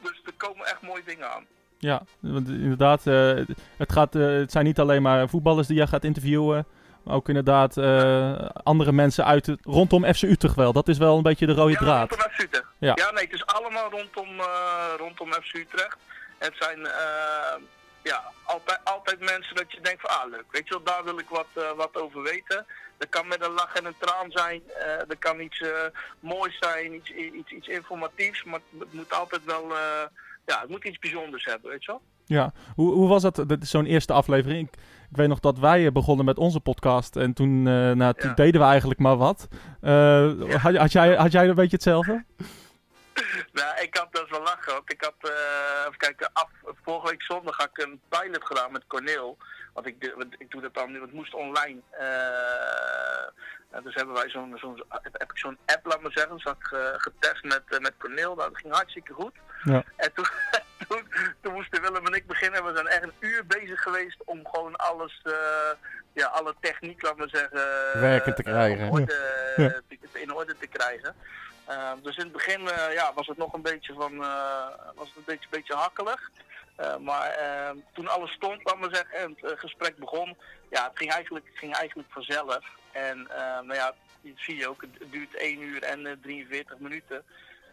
[SPEAKER 8] dus er komen echt mooie dingen aan.
[SPEAKER 1] Ja, want inderdaad, eh, het, gaat, eh, het zijn niet alleen maar voetballers die jij gaat interviewen. Maar ook inderdaad eh, andere mensen uit het- rondom FC Utrecht wel. Dat is wel een beetje de rode draad.
[SPEAKER 8] Rondom FC Utrecht.
[SPEAKER 1] Ja.
[SPEAKER 8] Ja. nee, het is allemaal rondom, eh, rondom FC Utrecht. Het zijn eh, ja, altijd, altijd mensen dat je denkt van, ah leuk, weet je wel, daar wil ik wat, eh, wat over weten. Dat kan met een lach en een traan zijn, eh dat kan iets eh, moois zijn, iets, iets, iets informatiefs, maar het moet altijd wel, eh, ja, het moet iets bijzonders hebben, weet je wel.
[SPEAKER 1] Ja, hoe, hoe was dat? dat is zo'n eerste aflevering. Ik, ik weet nog dat wij eh, begonnen met onze podcast. En toen, eh, nou, toen deden we eigenlijk maar wat. Eh, had, had, jij, had jij een beetje hetzelfde?
[SPEAKER 8] nou, ik had dat wel lachen, want ik had, eh, even kijken, af, vorige week zondag had ik een pilot gedaan met Corneel. Want ik, doe- want ik doe dat dan nu, want het moest online. Eh, en dus hebben wij zo'n, zo'n, heb heb ik zo'n app, laat maar zeggen, dus had ik eh, getest met, eh, met Corneel. Nou, dat ging hartstikke goed.
[SPEAKER 1] Ja.
[SPEAKER 8] En toen, (laughs) toen, toen moesten Willem en ik beginnen. We zijn echt een uur bezig geweest om gewoon alles, eh, ja, alle techniek, laat maar zeggen, eh,
[SPEAKER 2] Werken te krijgen.
[SPEAKER 8] In orde,
[SPEAKER 2] Ja.
[SPEAKER 8] eh, te- in orde te krijgen. Eh, dus in het begin eh, ja, was het nog een beetje van eh, was het een beetje, beetje hakkelig. Eh, maar eh, toen alles stond, laat maar zeggen, en het eh, gesprek begon, ja, het ging eigenlijk, ging eigenlijk vanzelf. En eh, nou ja, dat zie je ook, het duurt 1 uur en eh, 43 minuten.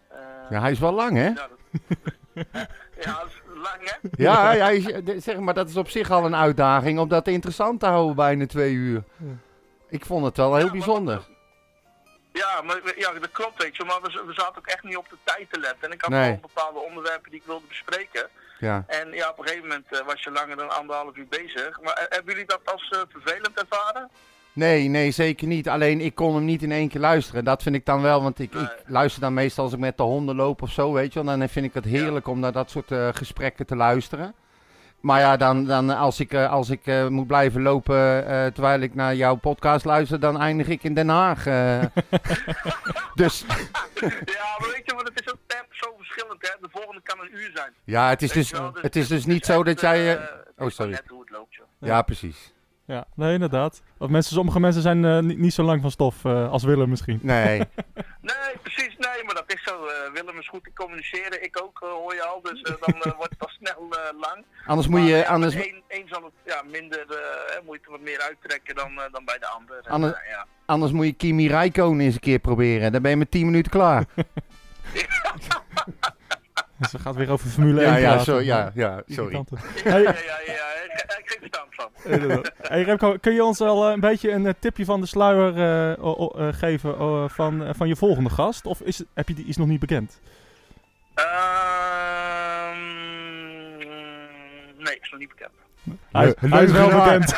[SPEAKER 8] Eh,
[SPEAKER 2] Ja, hij is wel lang, hè?
[SPEAKER 8] Ja, dat- ja, dat is lang, hè?
[SPEAKER 2] Ja, ja, je- de- eh, zeg maar, dat is op zich al een uitdaging om dat interessant te houden bijna twee uur. Ik vond het wel heel bijzonder.
[SPEAKER 8] Ja, maar, we- ja, dat klopt, weet je. Maar we, z- we zaten ook echt niet op de tijd te letten. En ik had
[SPEAKER 2] Nee.
[SPEAKER 8] wel bepaalde onderwerpen die ik wilde bespreken.
[SPEAKER 2] Ja.
[SPEAKER 8] En ja, op een gegeven moment eh, was je langer dan anderhalf uur bezig. Maar eh, hebben jullie dat als eh, vervelend ervaren?
[SPEAKER 2] Nee, nee, zeker niet. Alleen ik kon hem niet in één keer luisteren. Dat vind ik dan wel, want ik, ik luister dan meestal als ik met de honden loop of zo, weet je wel. Dan vind ik het heerlijk om naar dat soort eh, gesprekken te luisteren. Maar ja, dan, dan als ik, eh, als ik eh, moet blijven lopen eh, terwijl ik naar jouw podcast luister, dan eindig ik in Den Haag. eh. (laughs) dus
[SPEAKER 8] (laughs) ja, maar weet je, want het is ook temp zo verschillend, hè. De volgende kan een uur zijn.
[SPEAKER 2] ja, het is
[SPEAKER 8] Weet
[SPEAKER 2] dus,
[SPEAKER 8] je wel,
[SPEAKER 2] het is dus niet zo dat jij... eh, oh, sorry.
[SPEAKER 8] Net hoe het loopt, joh.
[SPEAKER 2] Ja, precies.
[SPEAKER 1] Ja, nee, inderdaad. Want mensen, sommige mensen zijn eh, niet, niet zo lang van stof eh, als Willem misschien.
[SPEAKER 2] Nee.
[SPEAKER 8] (laughs) Nee, precies, nee, maar dat is zo. eh, Willem is goed te communiceren, ik ook, eh, hoor je al. Dus eh, dan eh, wordt het al snel eh, lang.
[SPEAKER 2] Anders moet
[SPEAKER 8] Maar,
[SPEAKER 2] je-
[SPEAKER 8] ja, met
[SPEAKER 2] anders-
[SPEAKER 8] één- één zal het ja, minder, eh, hè, moet je het wat meer uittrekken dan, eh, dan bij de ander. En,
[SPEAKER 2] Anders,
[SPEAKER 8] eh, ja.
[SPEAKER 2] anders moet je Kimi Räikkönen eens een keer proberen. Dan ben je met 10 minuten
[SPEAKER 1] (laughs)
[SPEAKER 2] klaar.
[SPEAKER 1] Ze Dus gaat weer over Formule
[SPEAKER 2] Ja,
[SPEAKER 1] 1
[SPEAKER 2] ja,
[SPEAKER 1] praten.
[SPEAKER 2] zo- ja, ja, sorry.
[SPEAKER 1] Irritante.
[SPEAKER 8] Ja,
[SPEAKER 1] Hey,
[SPEAKER 8] ja, ja, ja, ik, ik geef stand van.
[SPEAKER 1] inderdaad. hey Remco, kun je ons al eh, een beetje een eh, tipje van de sluier eh, o- o- eh, geven eh, van, eh, van je volgende gast? Of is, heb je die is nog niet bekend?
[SPEAKER 8] Ehm, nee, is nog niet bekend.
[SPEAKER 1] Hij,
[SPEAKER 2] Le-
[SPEAKER 1] hij is wel
[SPEAKER 2] leugenaar.
[SPEAKER 1] bekend.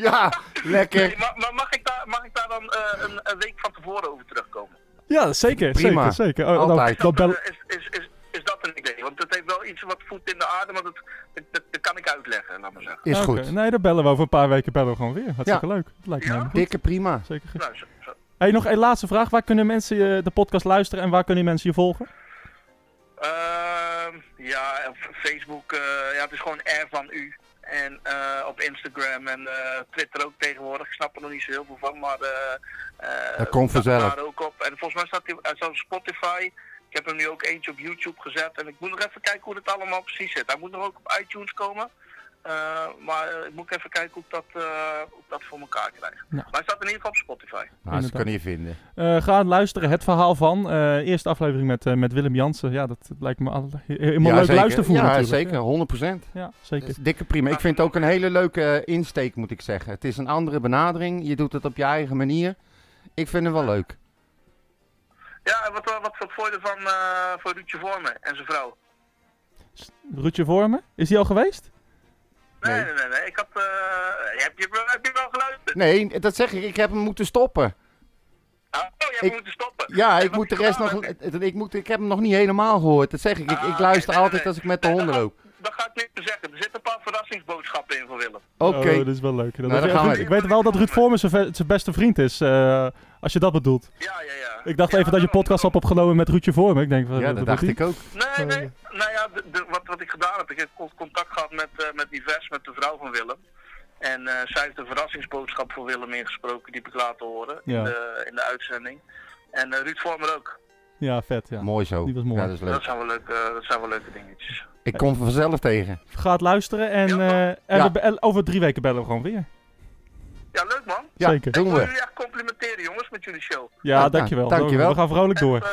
[SPEAKER 1] (laughs)
[SPEAKER 2] ja, lekker.
[SPEAKER 8] Nee, maar maar mag, ik daar, mag ik daar dan eh, een, een week van tevoren over terugkomen?
[SPEAKER 1] ja, zeker,
[SPEAKER 2] Prima.
[SPEAKER 1] zeker, zeker. Oh, dan-
[SPEAKER 2] Altijd.
[SPEAKER 1] dan bel-
[SPEAKER 8] Is, is, is, is dat een idee? Want het heeft wel iets wat voet in de aarde, maar dat, dat, dat, dat kan ik uitleggen, laat maar zeggen.
[SPEAKER 2] Is
[SPEAKER 1] Oké, nou,
[SPEAKER 2] goed.
[SPEAKER 1] Nee, dan bellen we over een paar weken bellen we gewoon weer. Hartstikke leuk. Dat lijkt me
[SPEAKER 8] Ja?
[SPEAKER 1] helemaal goed.
[SPEAKER 2] Dikke prima.
[SPEAKER 1] Zeker. goed.
[SPEAKER 8] Nou, zo, zo.
[SPEAKER 1] Hey, nog een laatste vraag. Waar kunnen mensen eh, de podcast luisteren en waar kunnen mensen je volgen?
[SPEAKER 8] Ehm, ja, op Facebook, eh, ja, het is gewoon R van U. En eh, op Instagram en eh, Twitter ook tegenwoordig. Ik snap er nog niet zo heel veel van, maar... eh, eh,
[SPEAKER 2] Dat komt
[SPEAKER 8] staat
[SPEAKER 2] vanzelf.
[SPEAKER 8] Daar ook op. En volgens mij staat hij hij staat op Spotify. Ik heb hem nu ook eentje op YouTube gezet. En ik moet nog even kijken hoe dat allemaal precies zit. Hij moet nog ook op iTunes komen. Eh, maar eh, ik moet even kijken hoe ik dat, eh, hoe ik dat voor elkaar krijg.
[SPEAKER 1] Nou.
[SPEAKER 8] Maar hij staat in ieder geval op Spotify.
[SPEAKER 2] Nou, ze
[SPEAKER 1] Inderdaad.
[SPEAKER 2] kan je vinden.
[SPEAKER 1] Eh, ga luisteren, het verhaal van. eh eerste aflevering met, eh, met Willem Jansen. Ja, dat lijkt me al, he- helemaal
[SPEAKER 2] ja,
[SPEAKER 1] leuk
[SPEAKER 2] zeker.
[SPEAKER 1] luistervoer
[SPEAKER 2] Ja,
[SPEAKER 1] natuurlijk. Dus-
[SPEAKER 2] zeker. 100 procent.
[SPEAKER 1] Ja, zeker.
[SPEAKER 2] Dikke prima. Ik vind het ook een hele leuke eh, insteek, moet ik zeggen. Het is een andere benadering. Je doet het op je eigen manier. Ik vind het wel leuk.
[SPEAKER 8] Ja, en wat, wat, wat vond je ervan eh, voor Ruudje Vormen en zijn vrouw?
[SPEAKER 1] Rutje Vormen, is die al geweest?
[SPEAKER 8] Nee,
[SPEAKER 2] Nee.
[SPEAKER 8] nee, nee. nee, Ik had, eh, heb, je, heb je wel geluisterd?
[SPEAKER 2] Nee, dat zeg ik. Ik heb hem moeten stoppen.
[SPEAKER 8] Oh, je hebt
[SPEAKER 2] Ik-
[SPEAKER 8] moeten stoppen.
[SPEAKER 2] Ja,
[SPEAKER 8] Nee,
[SPEAKER 2] ik
[SPEAKER 8] wat
[SPEAKER 2] moet de rest
[SPEAKER 8] gedaan
[SPEAKER 2] nog...
[SPEAKER 8] heb.
[SPEAKER 2] Ik, moet, ik heb hem nog niet helemaal gehoord. Dat zeg ik. Ik,
[SPEAKER 8] Ah,
[SPEAKER 2] ik
[SPEAKER 8] oké.
[SPEAKER 2] luister
[SPEAKER 8] Nee, nee,
[SPEAKER 2] altijd
[SPEAKER 8] nee.
[SPEAKER 2] als ik met de
[SPEAKER 8] Nee,
[SPEAKER 2] honden
[SPEAKER 8] dat-
[SPEAKER 2] loop.
[SPEAKER 8] Dat ga ik niks te zeggen. Er zitten een paar verrassingsboodschappen in voor Willem.
[SPEAKER 2] Oké.
[SPEAKER 1] Oh, dat is wel leuk. Dat
[SPEAKER 2] Nou,
[SPEAKER 1] is
[SPEAKER 2] daar
[SPEAKER 1] echt
[SPEAKER 2] gaan we.
[SPEAKER 1] goed. Ik weet wel dat Ruud Vormen zijn ve- zijn beste vriend is, eh, als je dat bedoelt.
[SPEAKER 8] Ja, ja, ja.
[SPEAKER 1] Ik dacht
[SPEAKER 8] Ja,
[SPEAKER 1] even dat je
[SPEAKER 8] daarom,
[SPEAKER 1] podcast had opgenomen met Rutje Vormen. Ik denk, wat-
[SPEAKER 2] Ja,
[SPEAKER 1] wat
[SPEAKER 2] dat
[SPEAKER 1] doet
[SPEAKER 2] dacht
[SPEAKER 1] die?
[SPEAKER 2] ik ook.
[SPEAKER 8] Nee, nee. Nou ja, de- de- wat, wat ik gedaan heb, ik heb con- contact gehad met, eh met Yves, met de vrouw van Willem. En eh, zij heeft een verrassingsboodschap voor Willem ingesproken, die heb ik laten horen
[SPEAKER 1] Ja.
[SPEAKER 8] in, de, in de uitzending. En eh, Ruud Vormer ook.
[SPEAKER 1] Ja, vet, ja.
[SPEAKER 2] Mooi zo.
[SPEAKER 1] Die was mooi.
[SPEAKER 2] Ja, dat is
[SPEAKER 8] Dat
[SPEAKER 2] leuk.
[SPEAKER 8] zijn wel leuke, eh, dat zijn wel leuke dingetjes.
[SPEAKER 2] Ik kom vanzelf tegen.
[SPEAKER 1] Ga het luisteren en, eh, en
[SPEAKER 2] Ja.
[SPEAKER 1] we be- en over drie weken bellen we gewoon weer.
[SPEAKER 8] Ja, leuk man.
[SPEAKER 2] Ja,
[SPEAKER 1] Zeker.
[SPEAKER 8] Ik
[SPEAKER 2] doen
[SPEAKER 8] wil
[SPEAKER 2] we.
[SPEAKER 8] jullie echt complimenteren jongens met jullie show.
[SPEAKER 1] Ja,
[SPEAKER 2] Ja,
[SPEAKER 1] dankjewel.
[SPEAKER 2] nou, dankjewel.
[SPEAKER 1] We gaan vrolijk door.
[SPEAKER 8] Echt,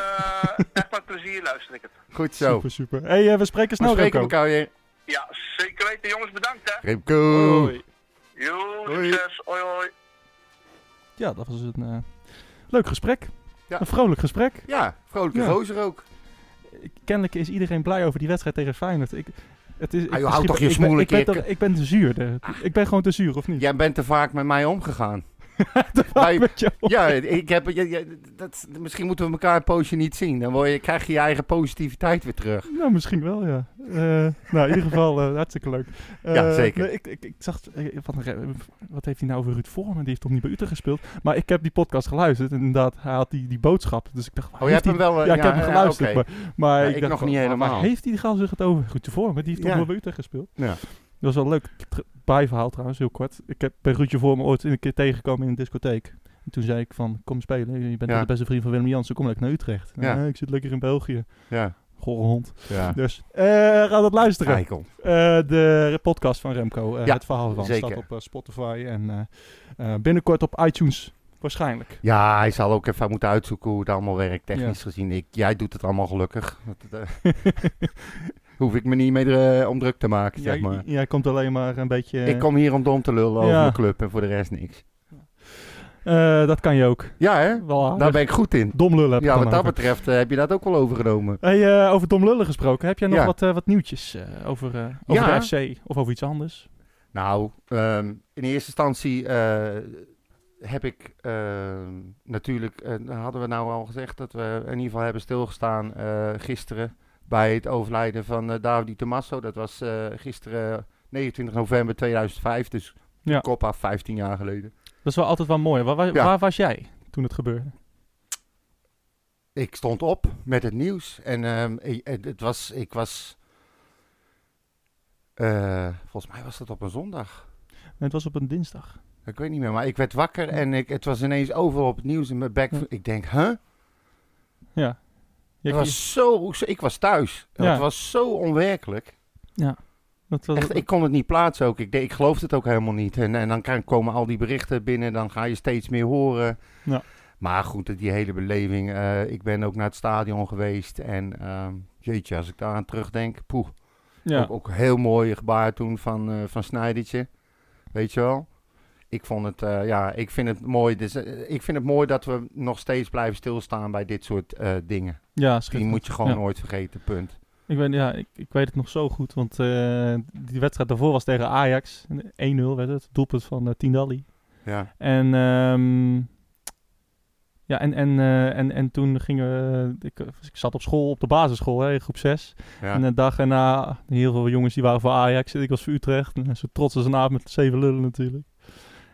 [SPEAKER 8] eh, echt met plezier luister ik het.
[SPEAKER 2] Goed zo.
[SPEAKER 1] Super, super. hey, eh, we spreken
[SPEAKER 2] We
[SPEAKER 1] snel,
[SPEAKER 2] spreken
[SPEAKER 1] Remco.
[SPEAKER 2] elkaar weer.
[SPEAKER 8] Ja, zeker weten jongens, bedankt hè.
[SPEAKER 2] Remco.
[SPEAKER 1] Hoi.
[SPEAKER 8] Jo,
[SPEAKER 2] Hoi.
[SPEAKER 8] succes, hoi hoi.
[SPEAKER 1] Ja, dat was een eh, leuk gesprek.
[SPEAKER 2] Ja.
[SPEAKER 1] Een vrolijk gesprek.
[SPEAKER 2] Ja, vrolijke
[SPEAKER 1] Ja.
[SPEAKER 2] gozer ook.
[SPEAKER 1] Ik- Kennelijk is iedereen blij over die wedstrijd tegen Feyenoord. Ik, het is, ik,
[SPEAKER 2] Ah, joh, hou
[SPEAKER 1] misschien-
[SPEAKER 2] toch je
[SPEAKER 1] ik ben-
[SPEAKER 2] smoel een
[SPEAKER 1] ik ben,
[SPEAKER 2] keer. Ah.
[SPEAKER 1] toch- ik ben te zuur. de- ik ben gewoon te zuur, of niet? (laughs)
[SPEAKER 2] Jij bent te vaak met mij omgegaan. Wij- ja, ik heb, ja, ja, dat, misschien moeten we elkaar een poosje niet zien. Dan word je, krijg je je eigen positiviteit weer terug. Oh,
[SPEAKER 1] Nou, misschien wel, ja. Eh, nou, in ieder geval eh, hartstikke leuk. Eh,
[SPEAKER 2] Ja, zeker.
[SPEAKER 1] nee, ik, ik, ik zag, eh, wat, wat heeft hij nou over Ruud Vormen? Die heeft toch niet bij Utrecht gespeeld? Maar ik heb die podcast geluisterd en inderdaad, hij had die, die boodschap. Dus ik dacht, waar
[SPEAKER 2] Oh, je
[SPEAKER 1] heeft
[SPEAKER 2] hebt
[SPEAKER 1] hij-
[SPEAKER 2] hem wel, eh,
[SPEAKER 1] Ja, ik
[SPEAKER 2] ja,
[SPEAKER 1] heb hem
[SPEAKER 2] ja,
[SPEAKER 1] geluisterd.
[SPEAKER 2] oké.
[SPEAKER 1] Maar, maar
[SPEAKER 2] Ja,
[SPEAKER 1] ik,
[SPEAKER 2] ik
[SPEAKER 1] dacht,
[SPEAKER 2] nog niet
[SPEAKER 1] waar- waar
[SPEAKER 2] helemaal.
[SPEAKER 1] heeft die gal zich het over? Ruud Vormen, die heeft toch
[SPEAKER 2] Ja.
[SPEAKER 1] wel bij Utrecht gespeeld?
[SPEAKER 2] Ja.
[SPEAKER 1] Dat was wel een leuk tr- bijverhaal trouwens, heel kort. Ik heb bij Ruudje voor me ooit een keer tegengekomen in een discotheek. En toen zei ik van, kom spelen. Je bent
[SPEAKER 2] Ja.
[SPEAKER 1] de beste vriend van Willem Jansen, kom lekker naar Utrecht.
[SPEAKER 2] Ja.
[SPEAKER 1] "Nee, ik zit lekker in België.
[SPEAKER 2] Ja.
[SPEAKER 1] Gore hond. (laughs)
[SPEAKER 2] Ja.
[SPEAKER 1] Dus, eh, ga dat luisteren.
[SPEAKER 2] Eikel.
[SPEAKER 1] Eh, de podcast van Remco, eh,
[SPEAKER 2] Ja,
[SPEAKER 1] het verhaal van,
[SPEAKER 2] zeker.
[SPEAKER 1] staat op eh, Spotify en eh, eh, binnenkort op iTunes, waarschijnlijk.
[SPEAKER 2] Ja, hij zal ook even moeten uitzoeken hoe het allemaal werkt, technisch
[SPEAKER 1] Ja.
[SPEAKER 2] gezien. Ik, jij doet het allemaal gelukkig.
[SPEAKER 1] (laughs)
[SPEAKER 2] Dat, eh, hoef ik me niet mee eh, om druk te maken,
[SPEAKER 1] Jij,
[SPEAKER 2] zeg maar.
[SPEAKER 1] jij komt alleen maar een beetje...
[SPEAKER 2] Ik kom hier om dom te lullen over
[SPEAKER 1] Ja.
[SPEAKER 2] mijn club en voor de rest niks.
[SPEAKER 1] Eh, dat kan je ook.
[SPEAKER 2] Ja, hè?
[SPEAKER 1] Wel aardig.
[SPEAKER 2] Daar ben ik goed in.
[SPEAKER 1] Dom lullen heb ik
[SPEAKER 2] Ja,
[SPEAKER 1] dan
[SPEAKER 2] wat dat
[SPEAKER 1] over.
[SPEAKER 2] betreft eh, heb je dat ook wel overgenomen.
[SPEAKER 1] Hey, eh, over Tom Lullen gesproken, heb jij nog
[SPEAKER 2] Ja.
[SPEAKER 1] wat, eh, wat nieuwtjes eh, over, eh, over
[SPEAKER 2] Ja.
[SPEAKER 1] de FC of over iets anders?
[SPEAKER 2] Nou, ehm, in eerste instantie eh, heb ik ehm, natuurlijk, eh, hadden we nou al gezegd dat we in ieder geval hebben stilgestaan eh, gisteren bij het overlijden van eh Davide Tommaso. Dat was eh, gisteren 29 november 2005, dus de
[SPEAKER 1] Ja.
[SPEAKER 2] kop af 15 jaar geleden.
[SPEAKER 1] Dat is wel altijd wel mooi. Waar, waar,
[SPEAKER 2] Ja.
[SPEAKER 1] waar was jij toen het gebeurde?
[SPEAKER 2] Ik stond op met het nieuws en ehm, ik, het het was, ik was, eh, volgens mij was dat op een zondag.
[SPEAKER 1] Nee, het was op een dinsdag.
[SPEAKER 2] Ik weet niet meer, maar ik werd wakker en ik, het was ineens overal op het nieuws in mijn bek. Ik denk, huh?
[SPEAKER 1] Ja. Je-
[SPEAKER 2] Het was zo, zo- ik was thuis.
[SPEAKER 1] Ja.
[SPEAKER 2] Het was zo onwerkelijk.
[SPEAKER 1] Ja. Dat was,
[SPEAKER 2] Echt, ik kon het niet plaatsen ook. Ik, de- ik geloofde het ook helemaal niet. En, en dan kan- komen al die berichten binnen, dan ga je steeds meer horen.
[SPEAKER 1] Ja.
[SPEAKER 2] Maar goed, die hele beleving. eh, ik ben ook naar het stadion geweest. En ehm, jeetje, als ik daaraan terugdenk, poeh.
[SPEAKER 1] Ja.
[SPEAKER 2] Ook, ook een heel mooi gebaar toen van, eh van Snijdertje. Weet je wel? Ik vond het, eh, ja, ik vind het mooi. Dus, eh, ik vind het mooi dat we nog steeds blijven stilstaan bij dit soort eh, dingen.
[SPEAKER 1] Ja,
[SPEAKER 2] Die
[SPEAKER 1] schitterend.
[SPEAKER 2] moet je gewoon
[SPEAKER 1] Ja.
[SPEAKER 2] nooit vergeten, punt.
[SPEAKER 1] Ik weet, ja, ik, ik weet het nog zo goed, want eh, die wedstrijd daarvoor was tegen Ajax. e-, 1-0 werd het, doelpunt van eh, Tindalli.
[SPEAKER 2] Ja.
[SPEAKER 1] En, ehm, ja, en, en, eh, en, en toen gingen we... Ik, ik zat op school, op de basisschool, hè, in groep 6.
[SPEAKER 2] Ja.
[SPEAKER 1] En de dag erna, heel veel jongens die waren voor Ajax. Ik was voor Utrecht. En zo trots als een avond met zeven lullen natuurlijk.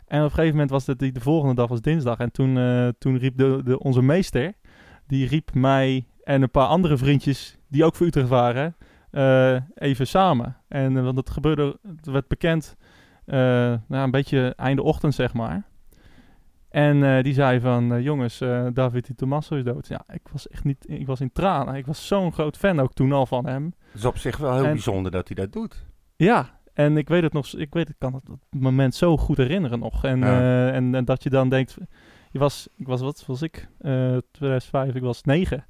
[SPEAKER 1] En op een gegeven moment was het de, de volgende dag, was dinsdag. En toen, eh, toen riep de, de, onze meester, die riep mij en een paar andere vriendjes die ook voor Utrecht waren, eh, even samen. En eh, want het gebeurde, het werd bekend, eh nou, een beetje einde ochtend zeg maar. En eh, die zei van, eh, jongens, eh, David Di Tommaso is dood. Ja, ik was echt niet, ik was in tranen. Ik was zo'n groot fan ook toen al van hem.
[SPEAKER 2] Het is op zich wel heel
[SPEAKER 1] En-
[SPEAKER 2] bijzonder dat hij dat doet.
[SPEAKER 1] Ja, en ik weet het nog, ik weet, ik kan het, dat moment zo goed herinneren nog. En,
[SPEAKER 2] Ja.
[SPEAKER 1] eh, en, en dat je dan denkt, je was, ik was, wat was ik? Eh 2005, ik was negen.